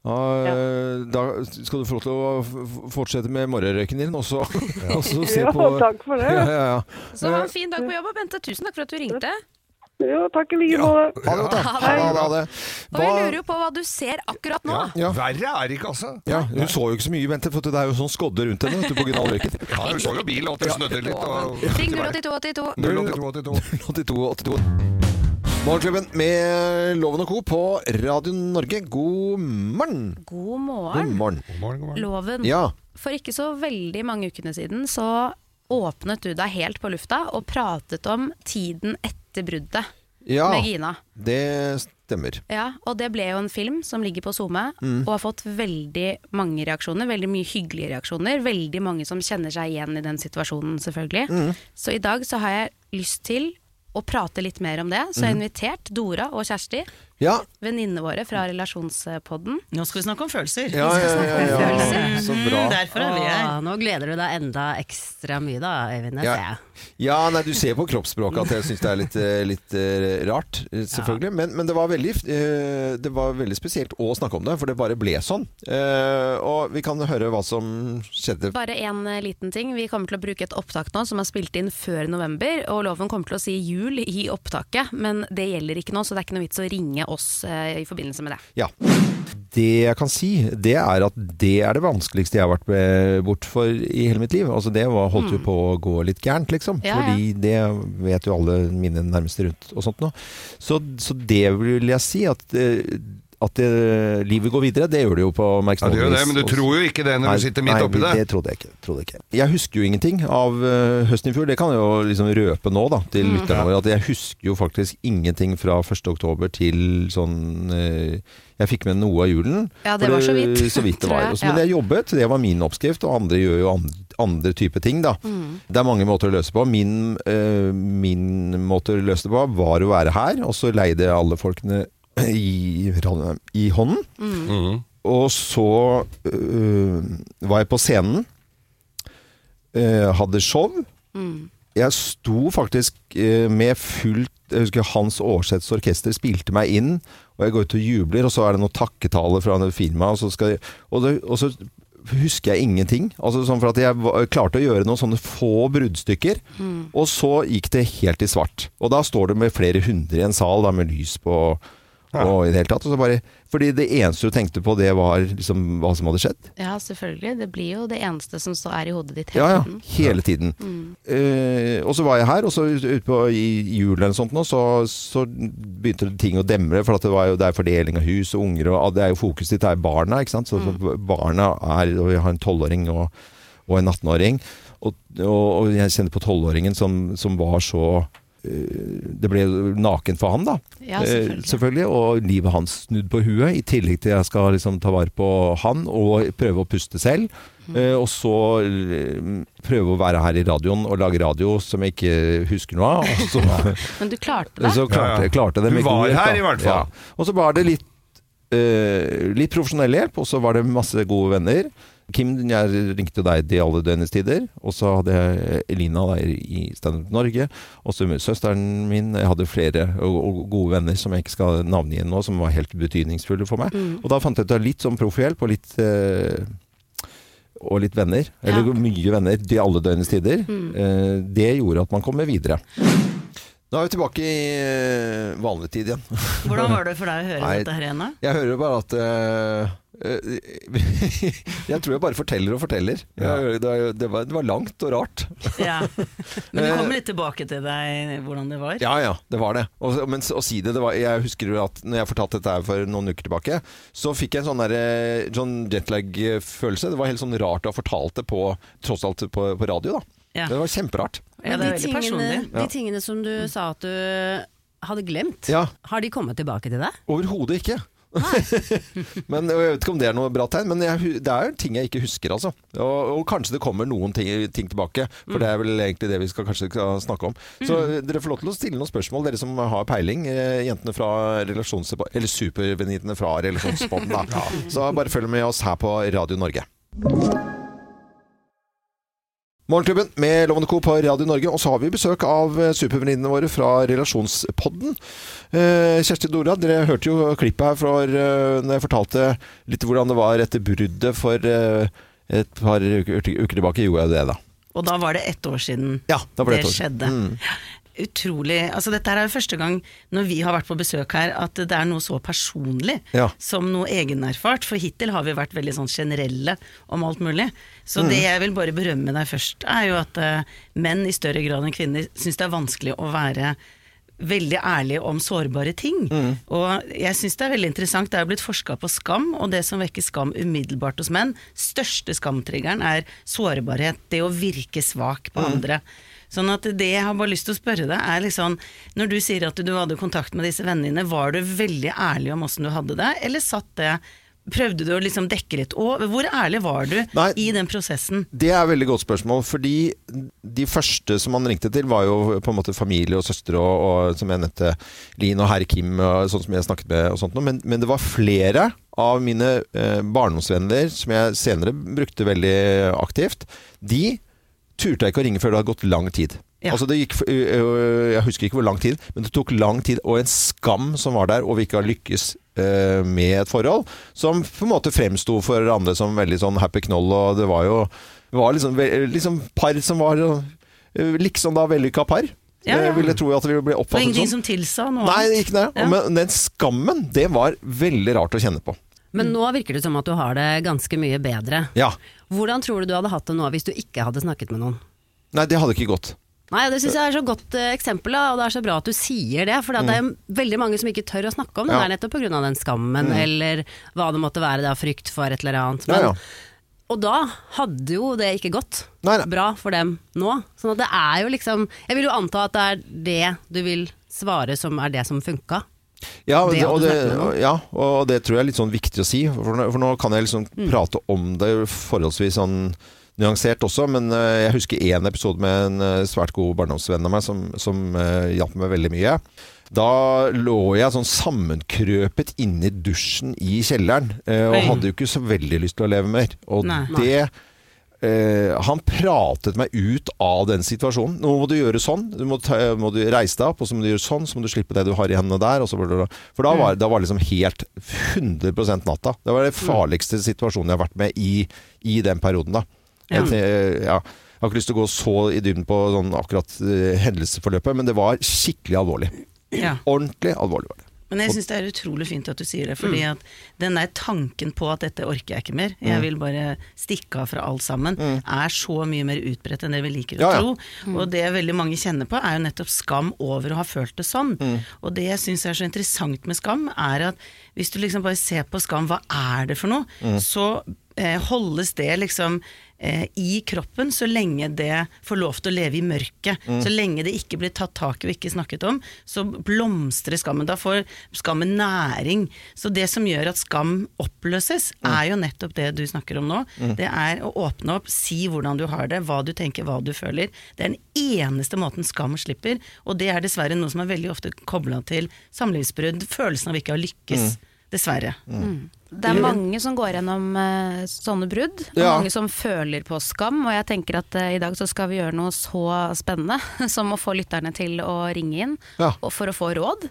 A: Og, eh, Da skal du få lov til å f- fortsette med morgenrøyken din, og så og så se
E: Ja,
A: på
E: takk for
A: Ja,
E: det.
A: ja, ja.
B: Så ha en fin dag på jobb, og Bente, tusen takk for at du ringte.
E: Ja, takk i like måte.
A: Ha det godt, da. Ha det, ha det.
B: Og vi lurer jo på hva du ser akkurat nå.
A: Ja.
C: Verre er det ikke, altså.
A: Ja, hun så jo ikke så mye, Bente, for det er jo sånn skodde rundt henne vet du, på Gnallrøyken.
C: Ja, hun så jo bil, og at det snødde litt. Og...
B: Ring 08282.
C: 08282.
A: 82, 82. Morgenklubben med Loven og Co. på Radio Norge. God morgen!
B: God
A: God
B: morgen.
A: morgen.
C: God morgen, god morgen.
B: Loven.
A: Ja.
B: For ikke så veldig mange ukene siden så åpnet du deg helt på lufta og pratet om tiden etter bruddet
A: ja.
B: med Gina.
A: Det stemmer.
B: Ja, og det ble jo en film som ligger på SoMe, og har fått veldig mange reaksjoner. Veldig mye hyggelige reaksjoner. Veldig mange som kjenner seg igjen i den situasjonen, selvfølgelig.
G: Mm.
A: Mm.
B: Så i dag så har jeg lyst til å prate litt mer om det. Så jeg har invitert Dora og Kjersti,
A: Ja,
B: venninnene våre fra relasjonspodden.
H: Nå skal vi snakke om følelser.
A: ja, ja, ja, ja, ja. Så bra.
H: Mm, derfor er vi
B: Ah.
H: her.
G: Åh, nå gleder du deg enda ekstra mye da,
A: Ja.
G: Øyvind. Jeg ser jeg.
A: Ja, nei, du ser på kroppsspråket at jeg syns det er litt, eh, litt eh, rart, eh, selvfølgelig. Men, men det, var veldig, eh, det var veldig spesielt å snakke om det, for det bare ble sånn. Eh, Og vi kan høre hva som skjedde.
B: Bare en eh, liten ting. Vi kommer til å bruke et opptak nå som er spilt inn før november, og loven kommer til å si jul i opptaket, men det gjelder ikke nå, så det er ikke noe vits å ringe oss eh, i forbindelse med det.
A: Ja. Det jeg kan si, det er at det er det vanskeligste jeg har vært eh, bort for i hele mitt liv. Altså det var, holdt jo på å gå litt gærent, liksom.
B: Mm. Ja, ja.
A: Fordi det vet jo alle mine nærmeste rundt og sånt nå. Så, så det vil jeg si at eh, at det, livet går videre, det gjør det jo på
C: Ja, det
A: merksnodig
C: gjør det, men du tror jo ikke det når du sitter midt
A: nei,
C: oppi det.
A: det trodde jeg ikke. Trodde jeg ikke. Jeg husker jo ingenting av eh, høsten i fjor. Det kan jeg jo liksom røpe nå da,
C: Mm.
A: til lytterne våre. At jeg husker jo faktisk ingenting fra 1. oktober til sånn eh, Jeg fikk med noe av julen.
B: Ja, det
A: For
B: var så vidt,
A: Så vidt det
B: tror
A: var.
B: jeg,
A: Også, men
B: ja.
A: jeg jobbet, det var min oppskrift, og andre gjør jo andre, andre type ting, da.
B: Mm.
A: Det er mange måter å løse på. Min, eh, min måte å løse det på var å være her, og så leide jeg alle folkene i, i hånden.
B: Mm.
G: Mm.
A: Mm. Og så øh, var jeg på scenen, øh, hadde show.
G: Mm.
A: Jeg sto faktisk øh, med fullt jeg husker Hans Aarseths orkester spilte meg inn, og jeg går ut og jubler, og så er det noen takketaler fra denne firmaet, og så, skal jeg, og, det, og så husker jeg ingenting. Altså sånn for at jeg var, klarte å gjøre noen sånne få bruddstykker, og så gikk det helt i svart. Og da står du med flere hundre i en sal, da, med lys på og i det hele tatt. Og så bare, fordi det eneste du tenkte på, det var liksom hva som hadde skjedd.
B: Ja, selvfølgelig. Det blir jo det eneste som så er i hodet ditt hele
A: Ja, ja.
B: tiden.
A: Hele tiden. Eh, og så var jeg her, og så ut- ut på, i julen eller sånt nå, så, så begynte det ting å demre. For at det, var jo, det er fordeling av hus og unger, og ah, det er jo fokuset ditt er barna. ikke sant? Så så barna er Og jeg har en tolvåring og, og en 18-åring. Og, og, og jeg kjenner på tolvåringen som, som var så eh, det ble nakent for han, da.
B: Ja,
A: Eh,
B: selvfølgelig.
A: selvfølgelig. Og livet hans snudd på huet, i tillegg til jeg skal liksom ta vare på han og prøve å puste selv.
B: Mm.
A: Eh, og så eh, prøve å være her i radioen og lage radio som jeg ikke husker noe av. Og så,
B: Men du klarte det.
A: så klarte,
C: Ja, ja.
A: klarte det
C: Du
A: med
C: var
A: god hjelp,
C: her
A: da.
C: i hvert fall.
A: Ja. Og så var det litt, eh, litt profesjonell hjelp, og så var det masse gode venner. Kim, jeg ringte jo deg til alle døgnets tider, og så hadde jeg Elina der i Stand Up Norge, og så med søsteren min, jeg hadde flere og, og gode venner som jeg ikke skal navngi nå, som var helt betydningsfulle for meg. Og da fant jeg ut av litt sånn profhjelp og litt eh, og litt venner, eller
B: Ja.
A: mye venner til alle døgnets tider. Eh, det gjorde at man kommer videre. Nå er vi tilbake i eh, vanlig tid igjen.
H: Hvordan var det for deg å høre
A: Nei.
H: dette her igjen? da?
A: Jeg hører jo bare at eh, eh, Jeg tror jeg bare forteller og forteller.
C: Ja.
A: Jeg, det, er- det, var, det var langt og rart. Eh,
H: Ja. Men du kommer litt tilbake til deg, hvordan det var?
A: Ja ja, det var det. Og, men å si det, det var, Jeg husker jo at når jeg fortalte dette her for noen uker tilbake, så fikk jeg en sånn, der, eh, sånn jetlag-følelse. Det var helt sånn rart å ha fortalt det på, tross alt på, på radio, da.
H: Ja.
A: Det var kjemperart.
H: Ja, det
G: Men de
H: er veldig
G: tingene,
H: personlig.
G: de tingene som du sa at du hadde glemt,
A: Ja.
G: har de kommet tilbake til deg?
A: Overhodet ikke. men og Jeg vet ikke om det er noe bra tegn, men jeg, hu- det er jo ting jeg ikke husker. altså. Og, og kanskje det kommer noen ting, ting tilbake, for
G: Mm.
A: det er vel egentlig det vi skal kanskje skal snakke om. Så dere får lov til å stille noen spørsmål, dere som har peiling. eh, Jentene fra relasjons... Eller supervenninnene fra relasjonsbåten, da. Så bare følg med oss her på Radio Norge. Morgenklubben med Lovende Co. på Radio Norge. Og så har vi besøk av eh, supervenninnene våre fra Relasjonspodden. Eh, Kjersti Dora, dere hørte jo klippet her fra eh, når jeg fortalte litt hvordan det var etter bruddet for eh, et par uker, uker tilbake. Gjorde jeg det, da?
H: Og da var det ett år siden
A: Ja, da var det
H: det,
A: ett år siden. Mm.
H: skjedde. Utrolig. Altså, dette her er jo første gang når vi har vært på besøk her, at det er noe så personlig
A: Ja.
H: som noe egenerfart. For hittil har vi vært veldig sånn generelle om alt mulig. Så det jeg vil bare berømme deg først, er jo at eh, menn i større grad enn kvinner syns det er vanskelig å være veldig ærlig om sårbare ting. Og jeg syns det er veldig interessant. Det er jo blitt forska på skam, og det som vekker skam umiddelbart hos menn, største skamtriggeren er sårbarhet. Det å virke svak på andre. Sånn at det jeg har bare lyst til å spørre deg, er liksom Når du sier at du hadde kontakt med disse vennene dine, var du veldig ærlig om åssen du hadde det, eller satt det Prøvde du å liksom dekke litt over? Hvor ærlig var du
A: Nei.
H: i den prosessen?
A: Det er et veldig godt spørsmål, fordi de første som man ringte til, var jo på en måte familie og søstre og, og som jeg nevnte, Lin og herr Kim og sånn som jeg snakket med og sånt noe. Men, men det var flere av mine eh, barndomsvenner som jeg senere brukte veldig aktivt. De turte jeg ikke å ringe før det hadde gått lang tid.
H: Ja.
A: Altså det gikk, f- ø- ø- jeg husker ikke hvor lang tid, men det tok lang tid og en skam som var der over ikke å lykkes ø, med et forhold, som på en måte fremsto for andre som veldig sånn happy knoll, og det var jo det var liksom, ve- liksom par som var ø, liksom da vellykka par.
H: Ja, ja.
A: Jeg ville tro at det ville bli
H: Det var
A: oppfattet
H: ingenting
A: som.
H: som tilsa noe
A: Nei,
H: annet.
A: ikke det.
H: Ja.
A: Men den skammen, det var veldig rart å kjenne på.
G: Men nå virker det som at du har det ganske mye bedre.
A: Ja.
G: Hvordan tror du du hadde hatt det nå hvis du ikke hadde snakket med noen?
A: Nei, det hadde ikke gått.
G: Nei, Det syns jeg er så godt eh, eksempel, da, og det er så bra at du sier det. For det er jo veldig mange som ikke tør å snakke om
A: Mm.
G: det
A: Ja. Mm.
G: der nettopp pga. den skammen, eller hva det måtte være, det av frykt for et eller annet.
A: Ja,
G: Men,
A: ja.
G: Og da hadde jo det ikke gått
A: Nei, nei.
G: bra for dem nå. Sånn at det er jo liksom Jeg vil jo anta at det er det du vil svare som er det som funka.
A: Ja,
G: Det
A: det, og
G: hadde
A: det,
G: snakket om.
A: ja, og det tror jeg er litt sånn viktig å si. For nå, for nå kan jeg liksom
G: Mm.
A: prate om det forholdsvis sånn nyansert også, men eh, jeg husker én episode med en eh, svært god barndomsvenn av meg som, som eh, hjalp meg veldig mye. Da lå jeg sånn sammenkrøpet inni dusjen i kjelleren, eh, og
H: Oi.
A: hadde jo ikke så veldig lyst til å leve mer. Og
H: Nei.
A: det Eh, han pratet meg ut av den situasjonen. Nå må du gjøre sånn, du må, ta, må du reise deg opp, og så må du gjøre sånn, så må du slippe det du har i hendene der. Og så, blablabla. for da var, da var liksom helt 100 natta. Det var den farligste situasjonen jeg har vært med i, i den perioden. da. Jeg, te- ja, jeg har ikke lyst til å gå så i dybden på sånn akkurat eh, hendelsesforløpet, men det var skikkelig alvorlig.
H: Ja.
A: Ordentlig alvorlig var det.
H: Men jeg syns det er utrolig fint at du sier det, fordi
A: Mm.
H: at den der tanken på at dette orker jeg ikke mer, jeg vil bare stikke av fra alt sammen, er så mye mer utbredt enn det vi
A: Mm.
H: liker å
A: Ja, ja.
H: tro. Og det veldig mange kjenner på, er jo nettopp skam over å ha følt det sånn.
A: Mm.
H: Og det jeg syns er så interessant med skam, er at hvis du liksom bare ser på skam, hva er det for noe,
A: Mm.
H: så eh, holdes det liksom eh, i kroppen så lenge det får lov til å leve i mørket.
A: Mm.
H: Så lenge det ikke blir tatt tak i og ikke snakket om, så blomstrer skammen. Da får skammen næring. Så det som gjør at skam oppløses, er jo nettopp det du snakker om nå. Det er å åpne opp, si hvordan du har det, hva du tenker, hva du føler. Det er den eneste måten skam slipper, og det er dessverre noe som er veldig ofte kobla til samlivsbrudd, følelsen av ikke å lykkes. Dessverre.
B: Det er mange som går gjennom eh, sånne brudd, og
A: Ja.
B: mange som føler på skam. Og jeg tenker at eh, i dag så skal vi gjøre noe så spennende som å få lytterne til å ringe inn
A: Ja.
B: og for å få råd.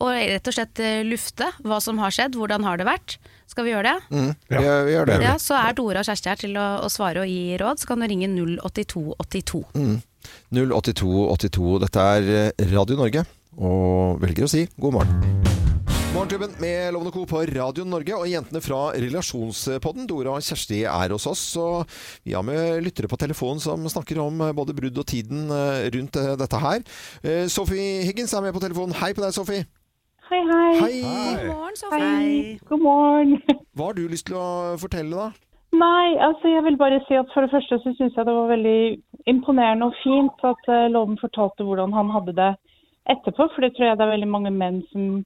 B: Og rett og slett eh, lufte hva som har skjedd, hvordan har det vært. Skal vi gjøre det?
A: Mm. Vi, vi gjør det.
B: Ja, så er Dora og Kjersti her til å, å svare og gi råd. Så kan du ringe 08282.
A: Mm. 08282. Dette er eh, Radio Norge, og velger å si god morgen. Morgenklubben med Lovende Co. på Radio Norge og jentene fra Relasjonspodden. Dora og Kjersti er hos oss, og vi har med lyttere på telefon som snakker om eh, både brudd og tiden eh, rundt eh, dette her. Eh, Sophie Higgins er med på telefonen. Hei på deg, Sophie.
E: Hei, hei.
A: Hei.
B: God morgen, Sofie.
H: Hei.
E: God morgen.
A: Hva har du lyst til å fortelle, da?
E: Nei, altså jeg vil bare si at for det første så syns jeg det var veldig imponerende og fint at eh, Loven fortalte hvordan han hadde det etterpå, for det tror jeg det er veldig mange menn som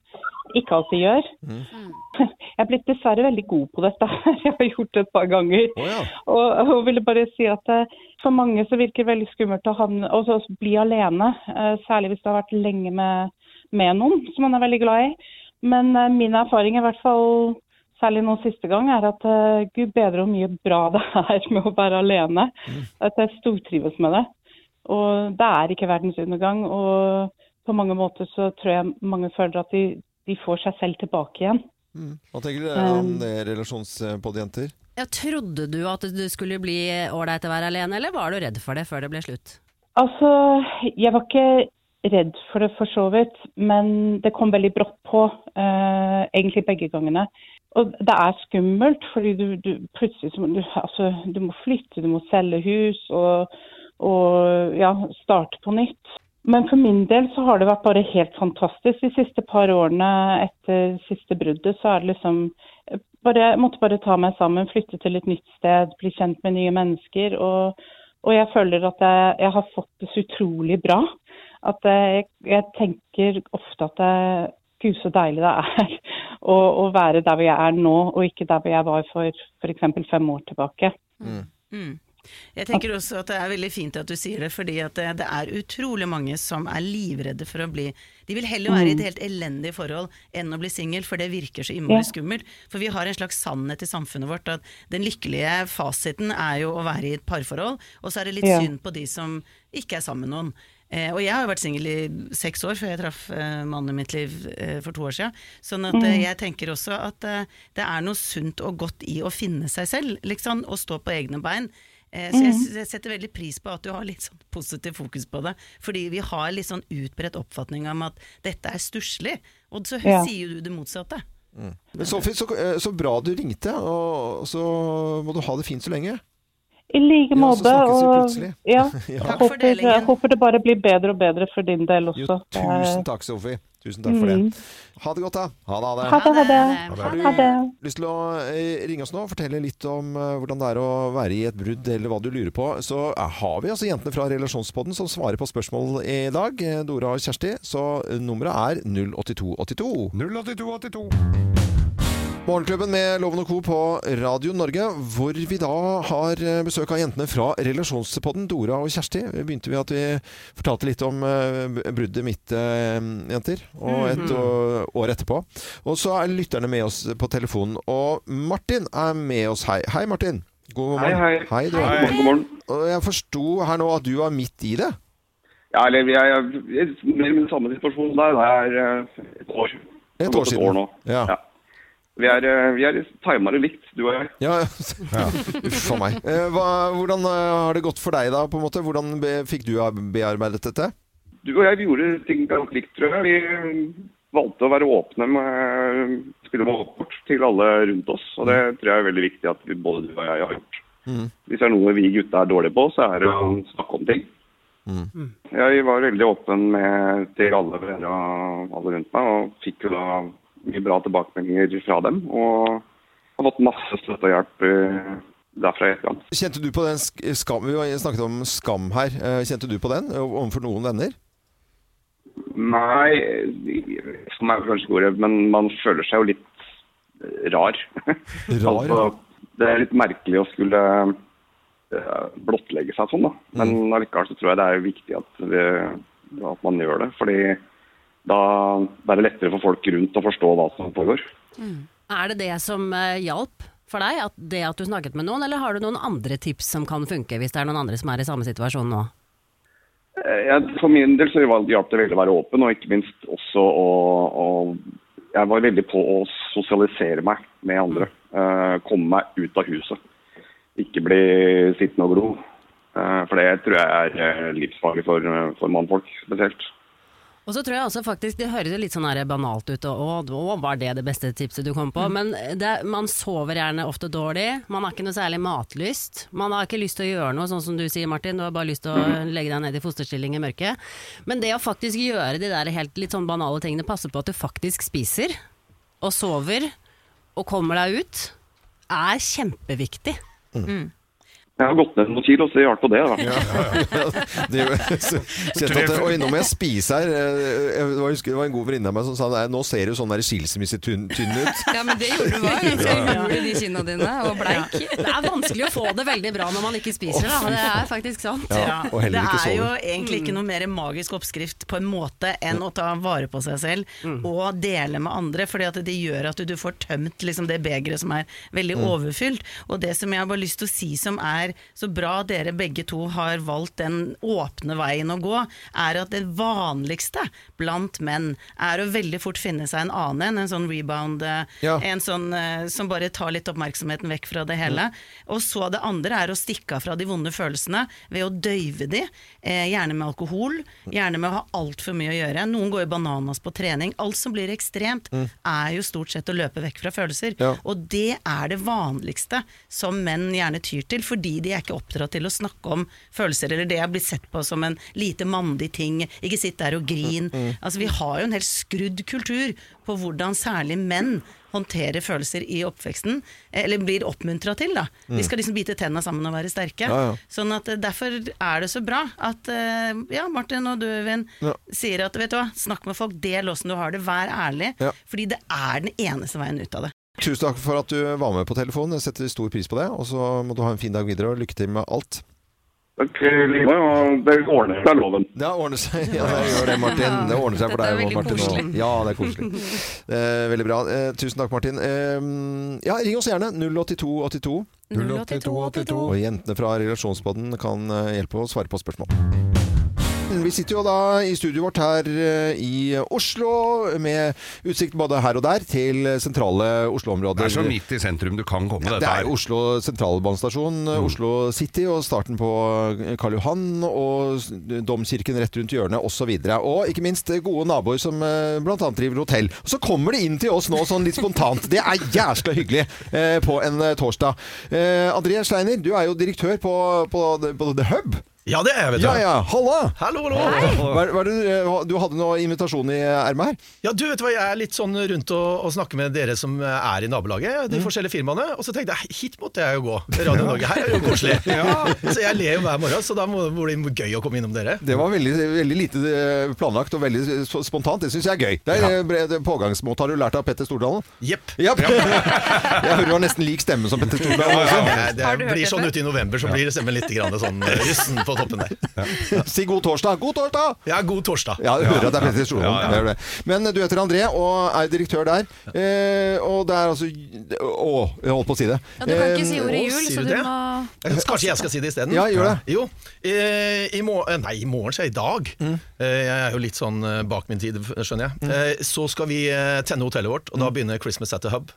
E: ikke alltid gjør.
C: Mm.
B: Mm.
E: Jeg er blitt dessverre veldig god på dette her, jeg har gjort det et par ganger.
A: Å ja.
E: Og, og ville bare si at eh, for mange så virker det veldig skummelt å havne, og så bli alene. eh, Særlig hvis du har vært lenge med, med noen som man er veldig glad i. Men eh, min erfaring, i hvert fall
I: særlig nå siste gang, er at eh, gud bedre hvor mye bra det er med å være alene. At jeg stortrives med det. Og det er ikke verdens undergang. Og på mange måter så tror jeg mange føler at de, de får seg selv tilbake igjen.
A: Hva tenker dere om det relasjonspodjenter?
G: Ja, trodde du at du skulle bli ålreit å være alene, eller var du redd for det før det ble slutt?
I: Altså, jeg var ikke redd for det for så vidt, men det kom veldig brått på, eh, egentlig begge gangene. Og det er skummelt, fordi du, du plutselig så må du, altså, du må flytte, du må selge hus og, og ja, starte på nytt. Men for min del så har det vært bare helt fantastisk de siste par årene etter siste bruddet. Så er det liksom bare, Jeg måtte bare ta meg sammen, flytte til et nytt sted, bli kjent med nye mennesker. Og, og jeg føler at jeg, jeg har fått det så utrolig bra. At eh, jeg, jeg tenker ofte at jeg, Gud, så deilig det er å, å være der hvor jeg er nå, og ikke der hvor jeg var for f.eks. fem år tilbake. Mm.
H: Mm. Jeg tenker også at det er veldig fint at du sier det, fordi at det, det er utrolig mange som er livredde for å bli De vil heller være i et helt elendig forhold enn å bli singel, for det virker så innmari skummelt. For vi har en slags sannhet i samfunnet vårt at den lykkelige fasiten er jo å være i et parforhold, og så er det litt
I: Ja.
H: synd på de som ikke er sammen med noen. Eh, og jeg har jo vært singel i seks år før jeg traff eh, mannen i mitt liv eh, for to år siden. Sånn at eh, jeg tenker også at eh, det er noe sunt og godt i å finne seg selv, liksom, og stå på egne bein. Eh, Så jeg, s- jeg setter veldig pris på at du har litt sånn positiv fokus på det. Fordi vi har litt sånn utbredt oppfatning om at dette er stusslig, og så
I: Ja.
H: sier du det motsatte.
A: Men Sofie, så, eh, så bra du ringte, og så må du ha det fint så lenge.
I: I like
A: Ja, så
I: måte.
A: snakkes vi
I: og
A: plutselig.
I: ja,
A: Ja.
I: jeg
H: Takk for
I: håper,
H: delingen.
I: jeg håper det bare blir bedre og bedre for din del også.
A: Jo,
I: Det er-
A: tusen takk, Sofie. Tusen takk for det.
B: Mm.
A: Ha det godt, da. Ha det, ha det.
I: Mm. Ha det, ha det.
A: Har du
I: Ha det.
A: lyst til å eh, ringe oss nå og fortelle litt om eh, hvordan det er å være i et brudd, eller hva du lurer på, så eh, har vi altså jentene fra Relasjonspodden som svarer på spørsmål i dag. eh, Dora og Kjersti. Så eh, nummeret er 08282.
C: 08282.
A: Morgenklubben med Loven og Co. på Radio Norge, hvor vi da har eh, besøk av jentene fra Relasjonspodden, Dora og Kjersti. Begynte vi at vi fortalte litt om eh, bruddet mitt, eh, jenter, og et å- år etterpå. Og så er lytterne med oss på telefonen, og Martin er med oss. Hei, hei Martin. God
J: Hei,
A: morgen.
J: hei.
A: Hei, du.
C: Hei.
J: God morgen.
A: Og jeg forsto her nå at du var midt i det.
J: Ja, eller vi er, vi er mer eller mindre samme situasjon der. Det er eh, et år. Det
A: Et
J: har
A: år
J: gått
A: siden.
J: Et år nå.
A: Ja.
J: Ja. Vi er, eh, vi er timere likt, du og jeg.
A: Ja, ja. Uff a meg. Eh, Hva, hvordan eh, har det gått for deg, da? på en måte? Hvordan be, fikk du bearbeidet dette?
J: Du og jeg vi gjorde ting ganske likt, tror jeg. Vi eh, valgte å være åpne med spille med åpent til alle rundt oss. Og det
A: Mm.
J: tror jeg er veldig viktig at vi, både du og jeg har gjort. Hvis det er noe vi gutta er dårlige på, så er det å snakke om ting. Jeg var veldig åpen med, til alle venner og alle rundt meg, og fikk jo da mye bra tilbakemeldinger fra dem. Og har fått masse støtte og hjelp eh, derfra i etterkant.
A: Kjente du på den sk- skam Vi har snakket om skam her. Eh, Kjente du på den eh, overfor noen venner?
J: Nei, som er kanskje ikke ordet, men man føler seg jo litt rar. Altså,
A: Rar, ja.
J: det er litt merkelig å skulle eh, blottlegge seg sånn, da. Men allikevel så tror jeg det er viktig at, vi, at man gjør det. Fordi da da er det lettere for folk rundt å forstå hva som foregår.
G: Mm. Er det det som eh, hjalp for deg, at det at du snakket med noen, eller har du noen andre tips som kan funke hvis det er noen andre som er i samme situasjon nå?
J: Eh, jeg- For min del så var- hjalp det veldig å være åpen, og ikke minst også å, å Jeg var veldig på å sosialisere meg med andre. eh, komme meg ut av huset. Ikke bli sittende og glo. Eh, for det tror jeg er eh, livsfarlig for, eh, for mannfolk spesielt.
G: Og så tror jeg også faktisk, Det høres jo litt sånn her banalt ut, og, og, og var det det beste tipset du kom på? Men det, man sover gjerne ofte dårlig, man har ikke noe særlig matlyst. Man har ikke lyst til å gjøre noe, sånn som du sier Martin, du har bare lyst til å legge deg ned i fosterstilling i mørket. Men det å faktisk gjøre de der helt litt sånn banale tingene, passe på at du faktisk spiser, og sover, og kommer deg ut, er kjempeviktig.
J: Jeg har gått ned noen kilo, så det hjalp på det. da.
A: Det, så, kjente at, Oi, nå må jeg spise her. Eh, Jeg var- husker, det var en god venninne av meg som sa "Nei, nå ser du sånn der skilsmissetynn tynn ut.
I: Ja, men det gjorde du var ganske umulig, de kinna dine, og bleik.
G: Det er vanskelig å få det veldig bra når man ikke spiser, da. Det er faktisk sant. Mm.
A: Ja, og
H: det
A: heller ikke
H: er jo
A: sover.
H: egentlig ikke noe mer magisk oppskrift på en måte enn å ta vare på seg selv
A: Mm.
H: og dele med andre, fordi at det gjør at du, du får tømt liksom, det begeret som er veldig
A: Mm.
H: overfylt. Og det som jeg har bare lyst til å si som er så bra at dere begge to har valgt den åpne veien å gå, er at det vanligste blant menn er å veldig fort finne seg en annen en, en sånn rebound, eh,
A: Ja.
H: en sånn eh, som bare tar litt oppmerksomheten vekk fra det hele. Og så det andre er å stikke av fra de vonde følelsene ved å døyve de, eh, gjerne med alkohol, gjerne med å ha altfor mye å gjøre. Noen går jo bananas på trening. Alt som blir ekstremt, er jo stort sett å løpe vekk fra følelser.
A: Ja.
H: Og det er det vanligste som menn gjerne tyr til, fordi de er ikke oppdratt til å snakke om følelser, eller det er blitt sett på som en lite mandig ting. Ikke sitt der og grin. Altså, vi har jo en helt skrudd kultur på hvordan særlig menn håndterer følelser i oppveksten, eh, eller blir oppmuntra til, da. De skal liksom bite tenna sammen og være sterke.
A: Ja, ja.
H: Sånn at eh, derfor er det så bra at eh, ja, Martin og du, Øyvind,
A: Ja.
H: sier at vet du hva, snakk med folk, del åssen du har det, vær ærlig,
A: Ja.
H: fordi det er den eneste veien ut av det.
A: Tusen takk for at du var med på telefonen. Jeg setter stor pris på det. Og så må du ha en fin dag videre, og lykke til med alt.
J: Takk, Lina, og det ordner seg, loven.
A: Det ordner seg. Ja, det gjør det, Martin. Det ordner seg for
I: Dette er
A: deg òg,
I: veldig
A: Martin.
I: koselig.
A: og- Ja, det er koselig. Eh, veldig bra. Eh, tusen takk, Martin. Eh, ja, ring oss gjerne. 08282.
B: 08282.
A: Og jentene fra relasjonsbåten kan eh, hjelpe å svare på spørsmål. Vi sitter jo da i studioet vårt her eh, i Oslo, med utsikt både her og der til sentrale Oslo-områder.
C: Det er så midt i sentrum du kan komme,
A: Ja,
C: dette
A: det er
C: her.
A: Oslo sentralbanestasjon, eh,
K: Mm.
A: Oslo City og starten på eh, Karl Johan og s- domkirken rett rundt hjørnet osv. Og ikke minst gode naboer som eh, blant annet driver hotell. Og så kommer de inn til oss nå sånn litt spontant. Det er jævla hyggelig eh, på en eh, torsdag. Eh, André Steiner, du er jo direktør på, på, på The Hub.
K: Ja, det er jeg, vet du.
A: Ja ja, halla!
K: Hallo, hallo.
A: Hva, er- hva er det, du- eh, du hadde noe invitasjon i eh, ermet her?
K: Ja, du vet hva, Jeg er litt sånn rundt og, og snakker med dere som eh, er i nabolaget,
A: Mm.
K: de forskjellige firmaene. Og så tenkte jeg hit måtte jeg jo gå. Radio Norge her er jo koselig. Så jeg ler jo hver morgen, så da må det bli gøy å komme innom dere.
A: Det var veldig, veldig lite eh, planlagt og veldig s- spontant. Det syns jeg er gøy. Det er ja. pågangsmåte. Har du lært av Petter Stordalen?
K: Jepp.
A: Ja. jeg hører du har nesten lik stemme som Petter Stordalen.
K: Det, det
I: du hørt
K: blir
I: det
K: sånn
I: før?
K: ute i november, så blir det stemmen litt grann sånn eh, russen på toppen der.
A: Si god torsdag! God torsdag!
K: Ja, god torsdag.
A: Ja, jeg hører at det er Petter Stordalen.
C: Ja, ja.
A: Det er det. Men du heter André og er direktør der. Eh, og det er altså Å, jeg holdt på å si det.
I: Ja, du kan ikke si
A: Eh,
I: ordet
K: å,
I: jul,
K: sier
I: så
K: du
I: du
K: det?
I: må
K: Jeg synes Kanskje jeg skal si det isteden?
A: Ja, gjør det.
K: Jo. eh, I mor eh, nei, i morgen, så er det i dag.
A: Mm.
K: Eh, Jeg er jo litt sånn eh, bak min tid, skjønner jeg. Eh, Så skal vi eh, tenne hotellet vårt,
A: Mm.
K: og da begynner Christmas at the Hub.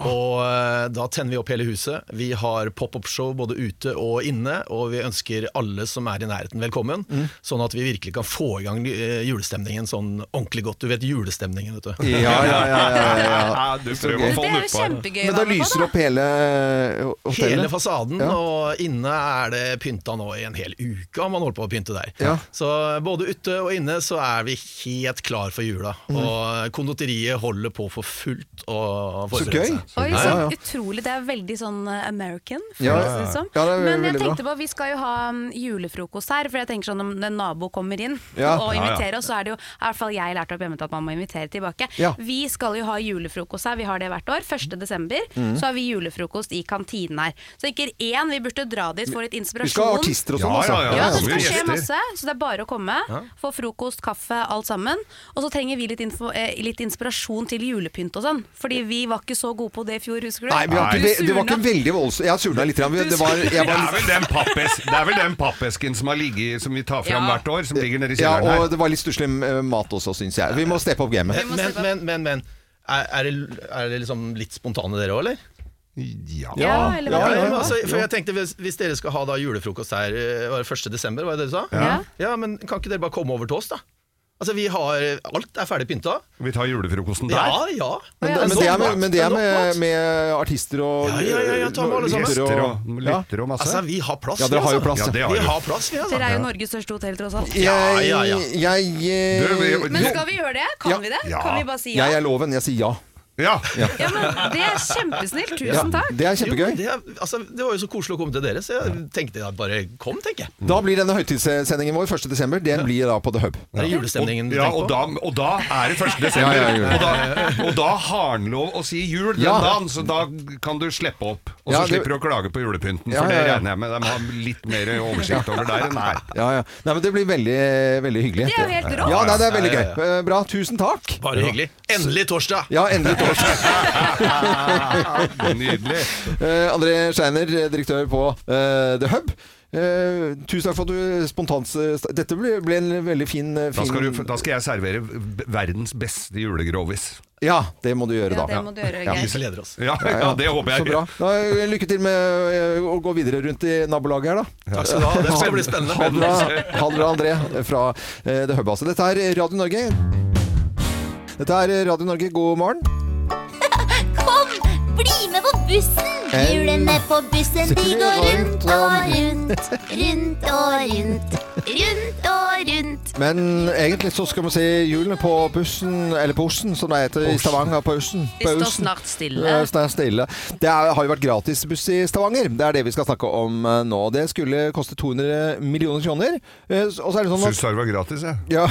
K: Og eh, da tenner vi opp hele huset. Vi har pop-up-show både ute og inne, og vi ønsker alle som er i nærheten velkommen,
A: Mm.
K: sånn at vi virkelig kan få i gang eh, julestemningen sånn ordentlig godt. Du vet julestemningen, vet du.
A: Ja, ja, ja. ja, ja, ja.
C: Ja, du prøver å få den
I: Det er
C: utpå
I: jo
C: her.
I: kjempegøy å
A: Men da
I: være med
A: lyser
I: på,
A: opp hele eh,
K: Hele
A: hotellet.
K: fasaden,
A: Ja.
K: og inne er det pynta nå i en hel uke har man holdt på å pynte der.
A: Ja.
K: Så både ute og inne så er vi helt klar for jula.
A: Mm.
K: Og konditeriet holder på for fullt å
A: Så
K: forberede
A: gøy!
K: seg.
I: da. Oi,
A: Ja,
I: så
A: ja.
I: utrolig. Det er veldig sånn eh, American,
A: Ja,
I: føles
A: ja, ja.
I: det som.
A: Ja, det er
I: Men
A: veldig
I: jeg
A: bra.
I: tenkte på, vi skal jo ha mm, julefrokost her, for jeg tenker sånn om en nabo kommer inn
A: Ja.
I: og
C: Ja, ja.
I: inviterer oss, så er det jo i hvert fall jeg lærte opp hjemme til at man må invitere tilbake.
A: Ja.
I: Vi skal jo ha julefrokost her, vi har det hvert år. 1. desember
A: Mm.
I: så har vi julefrokost i kantinen her. Så ikke én, vi burde dra dit, få litt
A: Vi skal ha
I: inspirasjon.
A: artister og
C: Ja,
A: sånn, altså.
C: ja, ja.
I: Ja, det
C: så
I: skal
C: mye
I: skje
C: gjester.
I: masse, så det er bare å komme. Få frokost, kaffe, alt sammen. Og så trenger vi litt, info, eh, litt inspirasjon til julepynt og sånn. Fordi vi var ikke så gode på det i fjor, husker du?
A: Nei, vi har
C: Nei.
A: ikke, det, det var ikke veldig voldsomt. Jeg surna litt. grann. Det var, jeg
C: Det
A: var
C: er, vel den pappes, det er vel den pappesken som, har ligget, som vi tar fram
I: Ja.
C: hvert år, som ligger nede i
A: Ja,
C: kjelleren
A: og
C: her.
A: det var litt stusslig eh, mat også, syns jeg. Vi må steppe opp gamet.
K: Eh, Men, men, men, men, Er, er, det, er det liksom litt spontane dere òg, eller?
C: Ja.
I: Ja, eller hva?
A: Ja, ja, ja.
K: men altså, for jeg tenkte hvis, hvis dere skal ha da julefrokost her eh, Var det 1. desember, var det det du sa?
I: Ja.
K: ja, men kan ikke dere bare komme over til oss, da? Altså, vi har Alt er ferdig pynta.
C: Vi tar julefrokosten der.
K: Ja, ja.
A: Men, men
K: Sånn
A: det er, med, men det er med, med artister og
K: Ja, ja, ja, ja, ta med alle sammen.
A: gjester
C: Lytter
A: og-
C: og,
A: Ja.
C: lytter og masse.
K: Altså, vi har plass,
A: Ja, dere har jo plass,
C: ja,
A: ja.
C: det har
K: Vi
C: vi.
K: har plass, vi, altså.
I: Dere er jo Norges største hotell, tross alt.
A: Jeg,
K: Ja, ja,
A: jeg,
K: ja.
A: eh,
C: Du, vi-
I: Men
C: Jo.
I: skal vi gjøre det? Kan
A: Ja.
I: vi det?
C: Ja.
I: Kan vi bare si ja?
A: jeg er loven. Jeg sier ja.
C: Ja.
B: Ja, men det er kjempesnilt. Tusen takk.
A: Det er kjempegøy.
K: Jo, det, er, altså, det var jo så koselig å komme til dere, så jeg tenkte at bare kom, tenker jeg.
A: Da blir denne høytidssendingen vår 1.12. Den blir da på The Hub.
K: Det er julestemningen du
C: ja,
K: tenker
C: og
K: på.
C: da, og da er det 1. desember.
A: Ja, ja, ja.
C: Og, da, og da har han lov å si jul den
A: Ja.
C: dagen, så da kan du slippe opp. Og så
A: Ja, det-
C: slipper du å klage på julepynten,
A: Ja,
C: for
A: ja,
C: det
A: ja.
C: regner jeg med de har litt mer oversikt over der enn her.
A: Ja, ja. Nei, men det blir veldig, veldig hyggelig.
B: Det er jo helt rått.
A: Ja, nei, det er veldig gøy. Eh, Bra. Tusen takk.
K: Bare hyggelig. Endelig torsdag!
A: Ja, endelig torsdag.
C: Nydelig.
A: Eh, André Scheiner, direktør på eh, The Hub. Eh, tusen takk for at du spontant st- Dette ble, ble en veldig fin, eh,
C: Da
A: fin
C: skal, du, da skal jeg servere b- verdens beste julegrovis.
A: Ja, det må du gjøre da.
B: Ja, det må du gjøre,
A: Ja.
B: Geir.
K: Hvis vi leder oss.
C: Ja, ja, det håper jeg.
A: Så bra. Da, eh, lykke til med eh, å gå videre rundt i nabolaget her, da.
K: Takk skal du ha. Det skal bli
A: Ha det bra,
K: spennende.
A: ha det bra André fra eh, The Hub. Altså. Dette er Radio Norge. Dette er Radio Norge, god morgen.
F: Kom, bli med på bussen! Hjulene på bussen, de går rundt og rundt. Rundt og rundt. Rundt og rundt.
A: Men egentlig så skal vi se hjulene på bussen, eller på Ossen, som det heter i Stavanger. på Ossen.
I: De
A: På
I: står
A: Ossen.
I: snart stille.
A: Eh, står stille. Det er, har jo vært gratisbuss i Stavanger. Det er det vi skal snakke om eh, nå. Det skulle koste 200 millioner kroner. Eh, s- Og så er det sånn at
C: Syns det var gratis, jeg.
A: ja.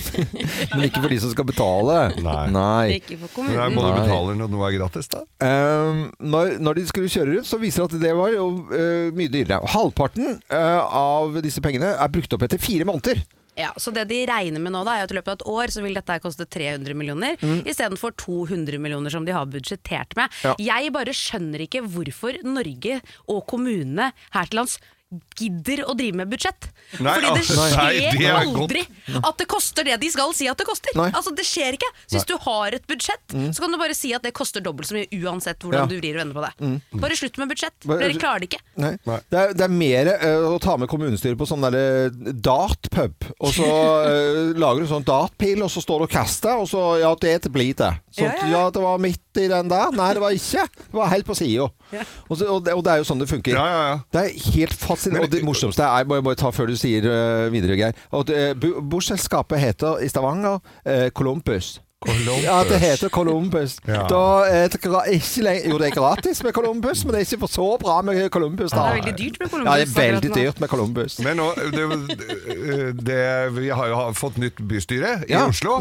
A: Men ikke for de som skal betale.
C: Nei.
A: Nei.
B: Ikke for
C: Men da
B: kommunen.
C: må du
A: Nei.
C: betale når noe er gratis, da.
A: Ehm, når, når de skulle kjøre rundt, så viser det at det var jo, eh, mye dyrere. Og Halvparten eh, av disse pengene er brukt opp etter fire måneder.
B: Ja, så det de regner med nå da, er at i løpet av et år så vil dette her koste 300 millioner,
C: Mm.
B: istedenfor 200 millioner som de har budsjettert med.
A: Ja.
B: Jeg bare skjønner ikke hvorfor Norge og kommunene her til lands gidder å drive med budsjett.
C: Nei,
B: Fordi det
C: altså,
B: skjer
C: nei, det er godt.
B: aldri at det koster det de skal si at det koster.
A: Nei.
B: Altså, det skjer ikke. Så hvis du har et budsjett,
C: Mm.
B: så kan du bare si at det koster dobbelt så mye uansett
A: Ja.
B: hvordan du vrir og vender på det.
C: Mm.
B: Bare slutt med budsjett.
A: Bare-
B: Dere klarer det ikke.
A: Nei. Det er, det er mer eh, å ta med kommunestyret på sånn derre datpub. Og så eh, lager du sånn datpil, og så står du og kaster, og så Ja, det blir det. Sånn, ja, det var midt i den der. Nei, det var ikke. Det var helt på sida. Og, så- og, det- og det er jo sånn det funker.
C: Ja, ja, ja.
A: Det er helt fascinerende. Og det morsomste er, må jeg bare ta før du sier eh, videre, Geir at, eh, bu- Busselskapet heter i Stavanger eh, Columbus. Ja, det heter Columbus.
C: Ja.
A: Da er det gra- ikke lenge, jo, det er gratis med Columbus, men det er ikke for så bra med Columbus. Da.
B: Det er veldig dyrt med Columbus.
A: Ja, det er veldig
B: akkurat nå.
A: dyrt med Columbus.
C: Men nå, det, det, vi har jo fått nytt bystyre i
A: Ja. Mm.
C: Oslo.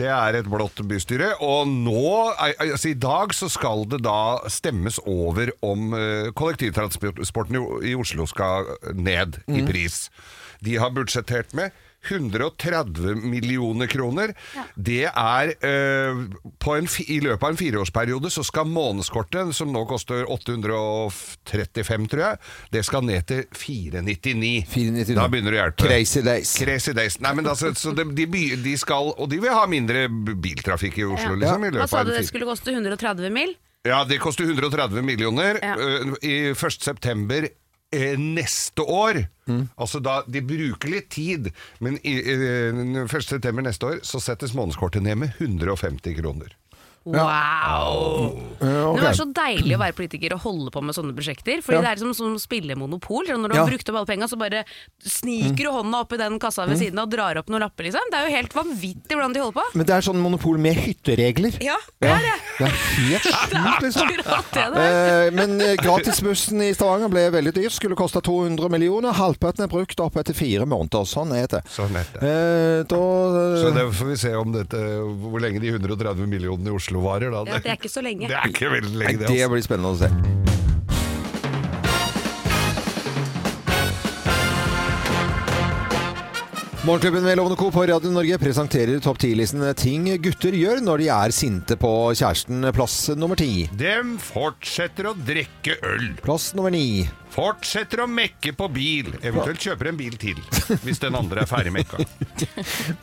C: Det er et blått bystyre. Og nå, altså i dag så skal det da stemmes over om eh, kollektivtransporten i- i Oslo skal ned i
A: Mm.
C: pris. De har budsjettert med 130 millioner kroner. Det er eh, på en, fi- I løpet av en fireårsperiode så skal månedskortet, som nå koster 835, tror jeg, det skal ned til 499.
A: 499.
C: Da begynner det å hjelpe.
A: Crazy days.
C: Crazy days. Nei, men altså, så de, de, by- de skal, og de vil ha mindre b- biltrafikk i Oslo, liksom. I
B: Hva
C: løpet
B: sa
C: av
B: du
C: en
B: det
C: fire-
B: skulle koste? 130 mil?
C: Ja, det koster 130 millioner.
B: Ja.
C: øh, I 1. september eh, neste år.
A: Mm.
C: Altså da, De bruker litt tid, men i, eh, den 1. september neste år så settes månedskortet ned med 150 kroner.
B: Wow!
A: Ja, ok.
B: Det var så deilig å være politiker og holde på med sånne prosjekter. Fordi
A: Ja.
B: det er liksom som å spille monopol. sånn Når du
A: Ja.
B: har brukt opp alle penga, så bare sniker du hånda opp i den kassa ved siden av og drar opp noen lapper, liksom. Det er jo helt vanvittig hvordan de holder på.
A: Men det er sånn monopol med hytteregler.
B: Ja,
A: Ja,
B: det er det.
A: det er helt sjukt, liksom.
B: Akkurat det det er.
A: Eh, Men eh, gratisbussen i Stavanger ble veldig dyr. Skulle koste 200 millioner. Halvparten er brukt opp etter fire måneder. Sånn er det.
C: Sånn er det.
A: Eh, Da
C: Så det får vi se om dette, hvor lenge de 130 millionene i Oslo varer. Da.
B: Ja, det er ikke så lenge.
C: Det er ikke veldig
A: Nei,
C: lenge, det.
A: det
C: altså.
A: blir spennende å se. Morgenklubben med Lovende Co. på Radio Norge presenterer topp 10-listen ting gutter gjør når de er sinte på kjæresten. Plass nummer ti.
C: Dem fortsetter å drikke øl.
A: Plass nummer ni.
C: Fortsetter å mekke på bil. Eventuelt kjøper en bil til, hvis den andre er ferdig mekka.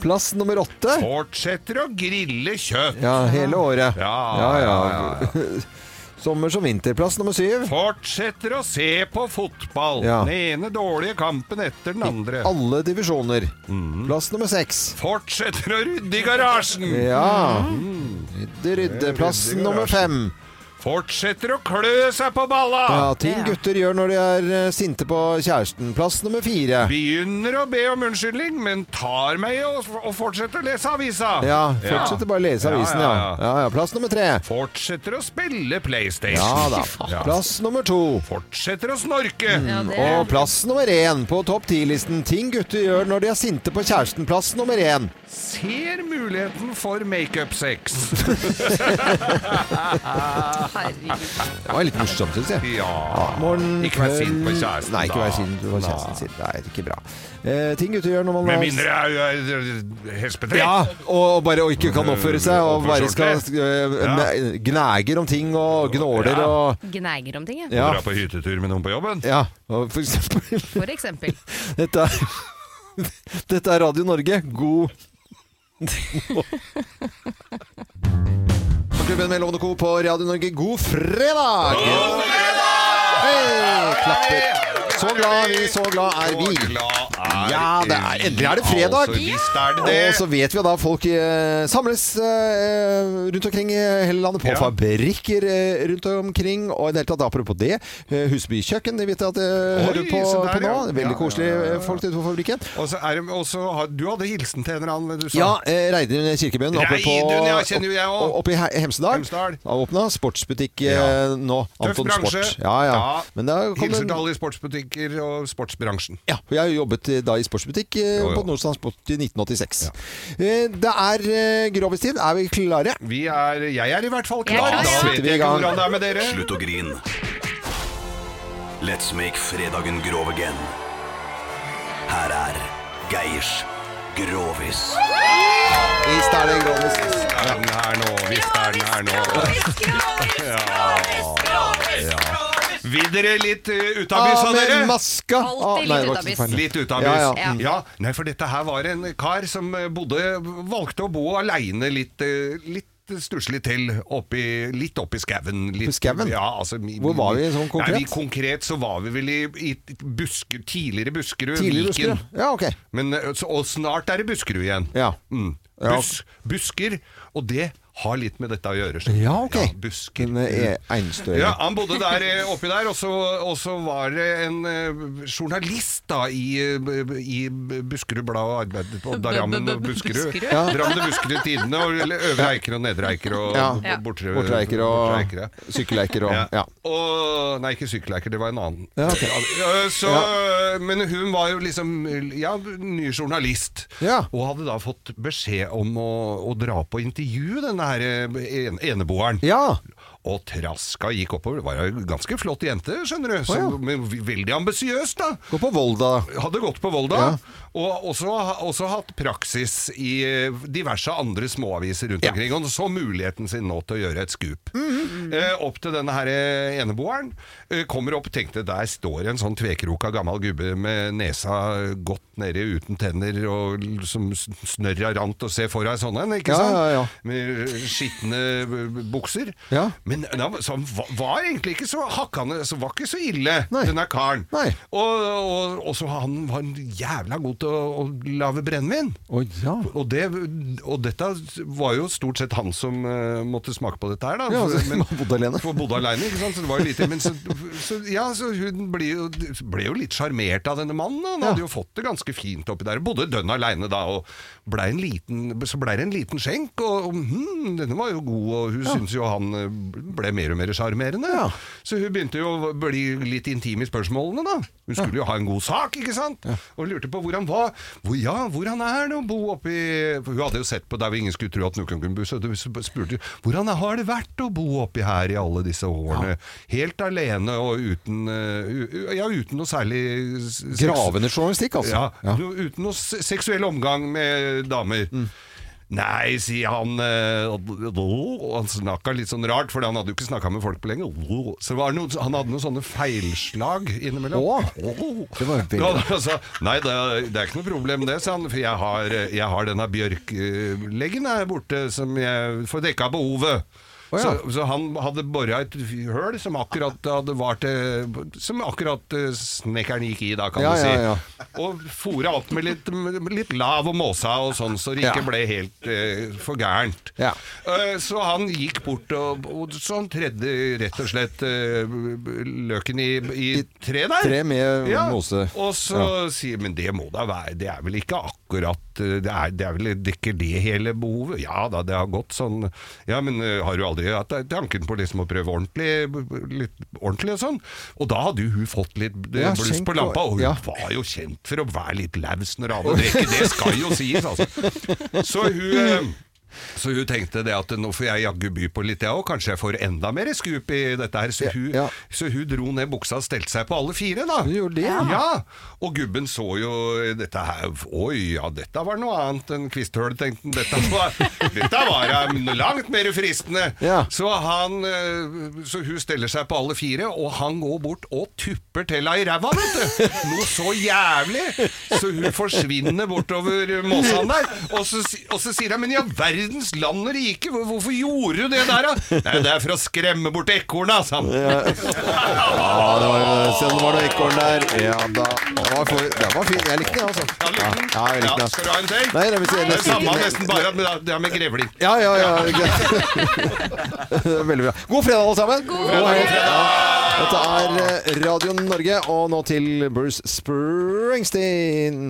A: Plass nummer åtte.
C: Fortsetter å grille kjøtt.
A: Ja, hele året.
C: Ja,
A: ja,
C: ja,
A: Sommer som vinter. Plass nummer syv.
C: Fortsetter å se på fotball.
A: Ja.
C: Den ene dårlige kampen etter den andre.
A: Alle divisjoner. Plass nummer seks.
C: Fortsetter å rydde i garasjen. Mhm. Mm.
A: Ja. Rydde, rydde. Plass
C: Rydde i
A: nummer
C: garasjen.
A: fem.
C: Fortsetter å klø seg på balla!
A: Ja, ting gutter gjør når de er eh, sinte på kjæresten. Plass nummer fire.
C: Begynner å be om unnskyldning, men tar meg i å- og fortsetter å lese avisa.
A: Ja, fortsetter bare å lese avisen, ja. ja, ja. Plass nummer tre.
C: Fortsetter å spille PlayStation.
A: Ja da.
C: Ja.
A: Plass nummer to. Mm.
C: Fortsetter å snorke.
A: Og plass nummer én på topp ti-listen. Ting gutter gjør når de er sinte på kjæresten. Plass nummer én.
C: Ser muligheten for makeup-sex.
A: Det var litt morsomt, syns jeg.
C: ja.
A: Morgen,
C: Ikke vær sint på
A: kveld-
C: kjæresten,
A: Nei, ikke
C: da.
A: vær sint på kjæresten sin. Nei, det er ikke bra. Eh, ting gutter gjør når man
C: Med
A: er-
C: mindre jeg Mm, er- er- er hespetrekk.
A: Ja, og bare og ikke kan oppføre seg, og bare
C: Oppføre
A: skal
C: seg
A: øh, ne- gnager om ting og gnåler
C: Ja.
A: og
B: Gnager om ting, jeg.
A: Ja.
C: Dra på hyttetur med noen på jobben.
A: ja. Og for eksempel
B: For eksempel.
A: Dette er, dette er Radio Norge. God Klubben med Lovende Co. på Radio Norge, god fredag! God fredag! Hei, klapper. Så glad vi, så glad er
C: Så
A: vi.
C: glad er
A: Ja, det er, endelig er det fredag!
C: Altså, visst er det det.
A: Og så vet vi at da folk eh, samles eh, rundt omkring i hele landet, på
C: Ja.
A: fabrikker eh, rundt omkring. Og i det hele tatt, apropos det, eh, Husby kjøkken, det vet jeg at jeg
C: Oi,
A: hører på,
C: se der,
A: på nå.
C: ja. Ja,
A: Veldig
C: ja,
A: koselige
C: ja, ja, ja.
A: eh, folk ute på fabrikken.
C: Og så er det, og så har, du hadde hilsen til en eller annen, du sa.
A: Ja, eh, Reidun Kirkebøen oppe, på,
C: Reidun, ja, kjenner jo jeg også.
A: opp- oppe i He- Hemsedal.
C: Hemsedal.
A: Har åpna sportsbutikk
C: Ja.
A: eh, nå.
C: Tøff
A: Anton
C: bransje.
A: Sport. Ja, ja.
C: Ja.
A: Men da kom
C: Hilser
A: en-
C: til alle i sportsbutikker og sportsbransjen.
A: ja, for jeg har jo jobbet eh, da i sportsbutikk eh,
C: Jo, jo.
A: på Nordstrand Sport i 1986. Eh, Det er eh, grovistid. Er vi klare?
C: Vi er, jeg er i hvert fall
B: Jeg
C: klar.
B: er klar, ja.
C: Da
A: Setter
C: vet
A: vi i
C: jeg ikke
A: gang.
C: hvordan det er med dere.
L: Slutt å grin. Let's make fredagen grov again. Her er Geirs Grovis.
A: Visst er det grovist.
C: Er den her nå? Visst er den her nå. Vil dere litt eh, ut av byssa,
A: Av med
C: dere?
A: maska! Ah,
B: Alltid
A: nei, det
B: litt
A: var ikke
B: utabys.
A: feil.
C: Litt ut av bys.
A: Ja,
C: Ja,
A: ja.
C: nei, for dette her var en kar som eh, bodde, valgte å bo aleine litt, eh, litt stusslig til, oppi, litt oppi skauen. litt-
A: På skauen?
C: Ja, altså, i-
A: Hvor var vi sånn konkret?
C: Nei, vi konkret så var vi vel i, i Busker, tidligere Buskerud,
A: Tidligere
C: Viken.
A: Buskerud. Ja, ok.
C: Men, eh, så, og snart er det Buskerud igjen.
A: Ja.
C: Mm.
A: Ja.
C: Bus, busker, og det har litt med dette å gjøre. skjønner du.
A: Ja, ok.
C: Ja, busker.
A: Den eh, einstøyre.
C: Ja, han bodde der eh, oppi der, og så, og så var det en eh, journalist da i, eh, i Buskerud Blad og arbeidet på Drammen og Buskerud.
B: Buskerud?
A: Ja.
C: Drammen og Buskerud Tidende og eller Øvre Eiker og Nedre Eiker og
A: Ja.
C: ja. Bortre
A: Bortre Eiker
C: Bortre
A: og
C: Eiker, ja.
A: sykkeleiker og
C: Ja.
A: ja.
C: Og, nei, ikke sykkeleiker, det var en annen.
A: Ja, ok.
C: Ja, Så, Men hun var jo liksom ja, ny journalist,
A: Ja.
C: og hadde da fått beskjed om å, å dra på intervju, denne her eh, en, eneboeren.
A: ja.
C: Og traska gikk oppover. Det var ei ganske flott jente, skjønner du. Så,
A: Å, ja.
C: men veldig ambisiøs, da.
A: Gå på Volda.
C: Hadde gått på Volda, og også, også hatt praksis i eh, diverse andre småaviser rundt
A: Ja.
C: omkring. Og så muligheten sin nå til å gjøre et skup. Eh, opp til denne her eh, eneboeren. Eh, kommer opp, tenkte der står en sånn tvekroka gammel gubbe med nesa godt nede uten tenner, og l- som s- snørra rant og ser for deg sånn en, ikke
A: Ja,
C: sant?
A: ja, ja.
C: Med eh, skitne b- bukser.
A: Ja.
C: Men da, så han va- var egentlig ikke så hakkande, så var ikke så ille,
A: Nei.
C: denne karen.
A: Nei.
C: Og, og, og så han var en jævla god til å, å lage brennevin.
A: Å ja.
C: Og, det, og dette var jo stort sett han som eh, måtte smake på dette her, da.
A: Ja, altså,
C: For-
A: han bodde alene.
C: For bodde alene, ikke sant. Så det var jo lite. Men så, så, ja, så hun ble jo, ble jo litt sjarmert av denne mannen. da. Han
A: Ja.
C: hadde jo fått det ganske fint oppi der. Bodde dønn aleine da, og ble en liten, så blei det en liten skjenk. Og, og hm, denne var jo god, og hun syntes jo han eh, ble mer og mer sjarmerende.
A: Ja.
C: Så hun begynte jo å bli litt intim i spørsmålene, da. Hun skulle jo ha en god sak, ikke sant? Og lurte på hvordan var hvor, Ja, hvordan er det å bo oppi for Hun hadde jo sett på der hvor ingen skulle tro at noen kunne bo, så hun spurte hvordan har det vært å bo oppi her i alle disse årene? Helt alene og uten eh, u- u- Ja, uten noe særlig s- sex-
A: Gravende journalistikk, altså.
C: ja, no- Uten noe se- seksuell omgang med damer. Nei, sier han eh, og Han snakka litt sånn rart, for han hadde jo ikke snakka med folk på lenge. Så det var noe, han hadde noen sånne feilslag innimellom.
A: Å, det var jo veldig
C: Ja, altså, Nei, det er, det er ikke noe problem det, sa han. For jeg har, jeg har denne bjørkleggen her borte som jeg får dekka behovet. Så, så han hadde bora et høl som akkurat hadde vart eh, Som akkurat eh, snekkeren gikk i, da, kan
A: Ja,
C: du si.
A: ja,
C: Og fora opp med litt, med litt lav og måsa og sånn, så det
A: Ja.
C: ikke ble helt eh, for gærent.
A: Ja.
C: Eh, så han gikk bort og, og sånn tredde rett og slett eh, løken i, i tre der.
A: Tre med mose.
C: Og så sier Men det må da være Det er vel ikke akkurat eh, Det, er, det er vel dekker det hele behovet? Ja da, det har gått sånn Ja, men eh, har du aldri hatt tanken på liksom å prøve ordentlig b- b- Litt ordentlig og sånn? Og da hadde jo hun fått litt eh,
A: Ja,
C: bluss
A: skjenk
C: på lampa,
A: og-
C: og hun
A: ja.
C: var jo kjent for å være litt laus når hun hadde drikke. Det skal jo sies, altså. Så hun eh, så hun tenkte det at nå får jeg jaggu by på litt, jeg òg. Kanskje jeg får enda mer skup i dette her. Så hun,
A: ja.
C: Så hun dro ned buksa og stelte seg på alle fire, da.
A: Hun gjorde det, ja.
C: ja. Og gubben så jo dette her Oi, ja, dette var noe annet enn kvisthull, tenkte han. Dette var, dette var ja, langt mer fristende.
A: Ja.
C: Så, han, eh, så hun steller seg på alle fire, og han går bort og tupper til henne i ræva, vet du. Noe så jævlig! Så hun forsvinner bortover måsene der. Og så, si- og så sier hun 'men i all verdens land og rike, hvor- hvorfor gjorde du det der', da? Nei, det er for å skremme bort ekorna, sa han.
A: Ja, det var, se om det var noe ekorn der. Ja da. Den var, for, den var fin. Jeg likte den, altså. Ja,
C: Ja, liten.
A: ja, jeg likte
C: Ja,
A: den.
C: skal du ha en til?
A: Nei, det vil si-
C: det er
A: nesten
C: samme,
A: ikke-
C: nesten bare at med- det er med grevling.
A: Ja, ja, ja. greit. Veldig bra. God fredag, alle sammen. God fredag. Dette er eh, Radio Norge, og nå til Bruce Springsteen.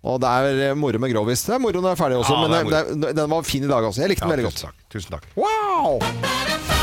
A: Og det er eh, moro med Grovis. Det er moro når den er ferdig også,
C: Ja, det er
A: men det, det, den var fin i dag også. Jeg likte den
C: Ja,
A: veldig
C: tusen
A: godt.
C: takk. Tusen takk.
A: Wow!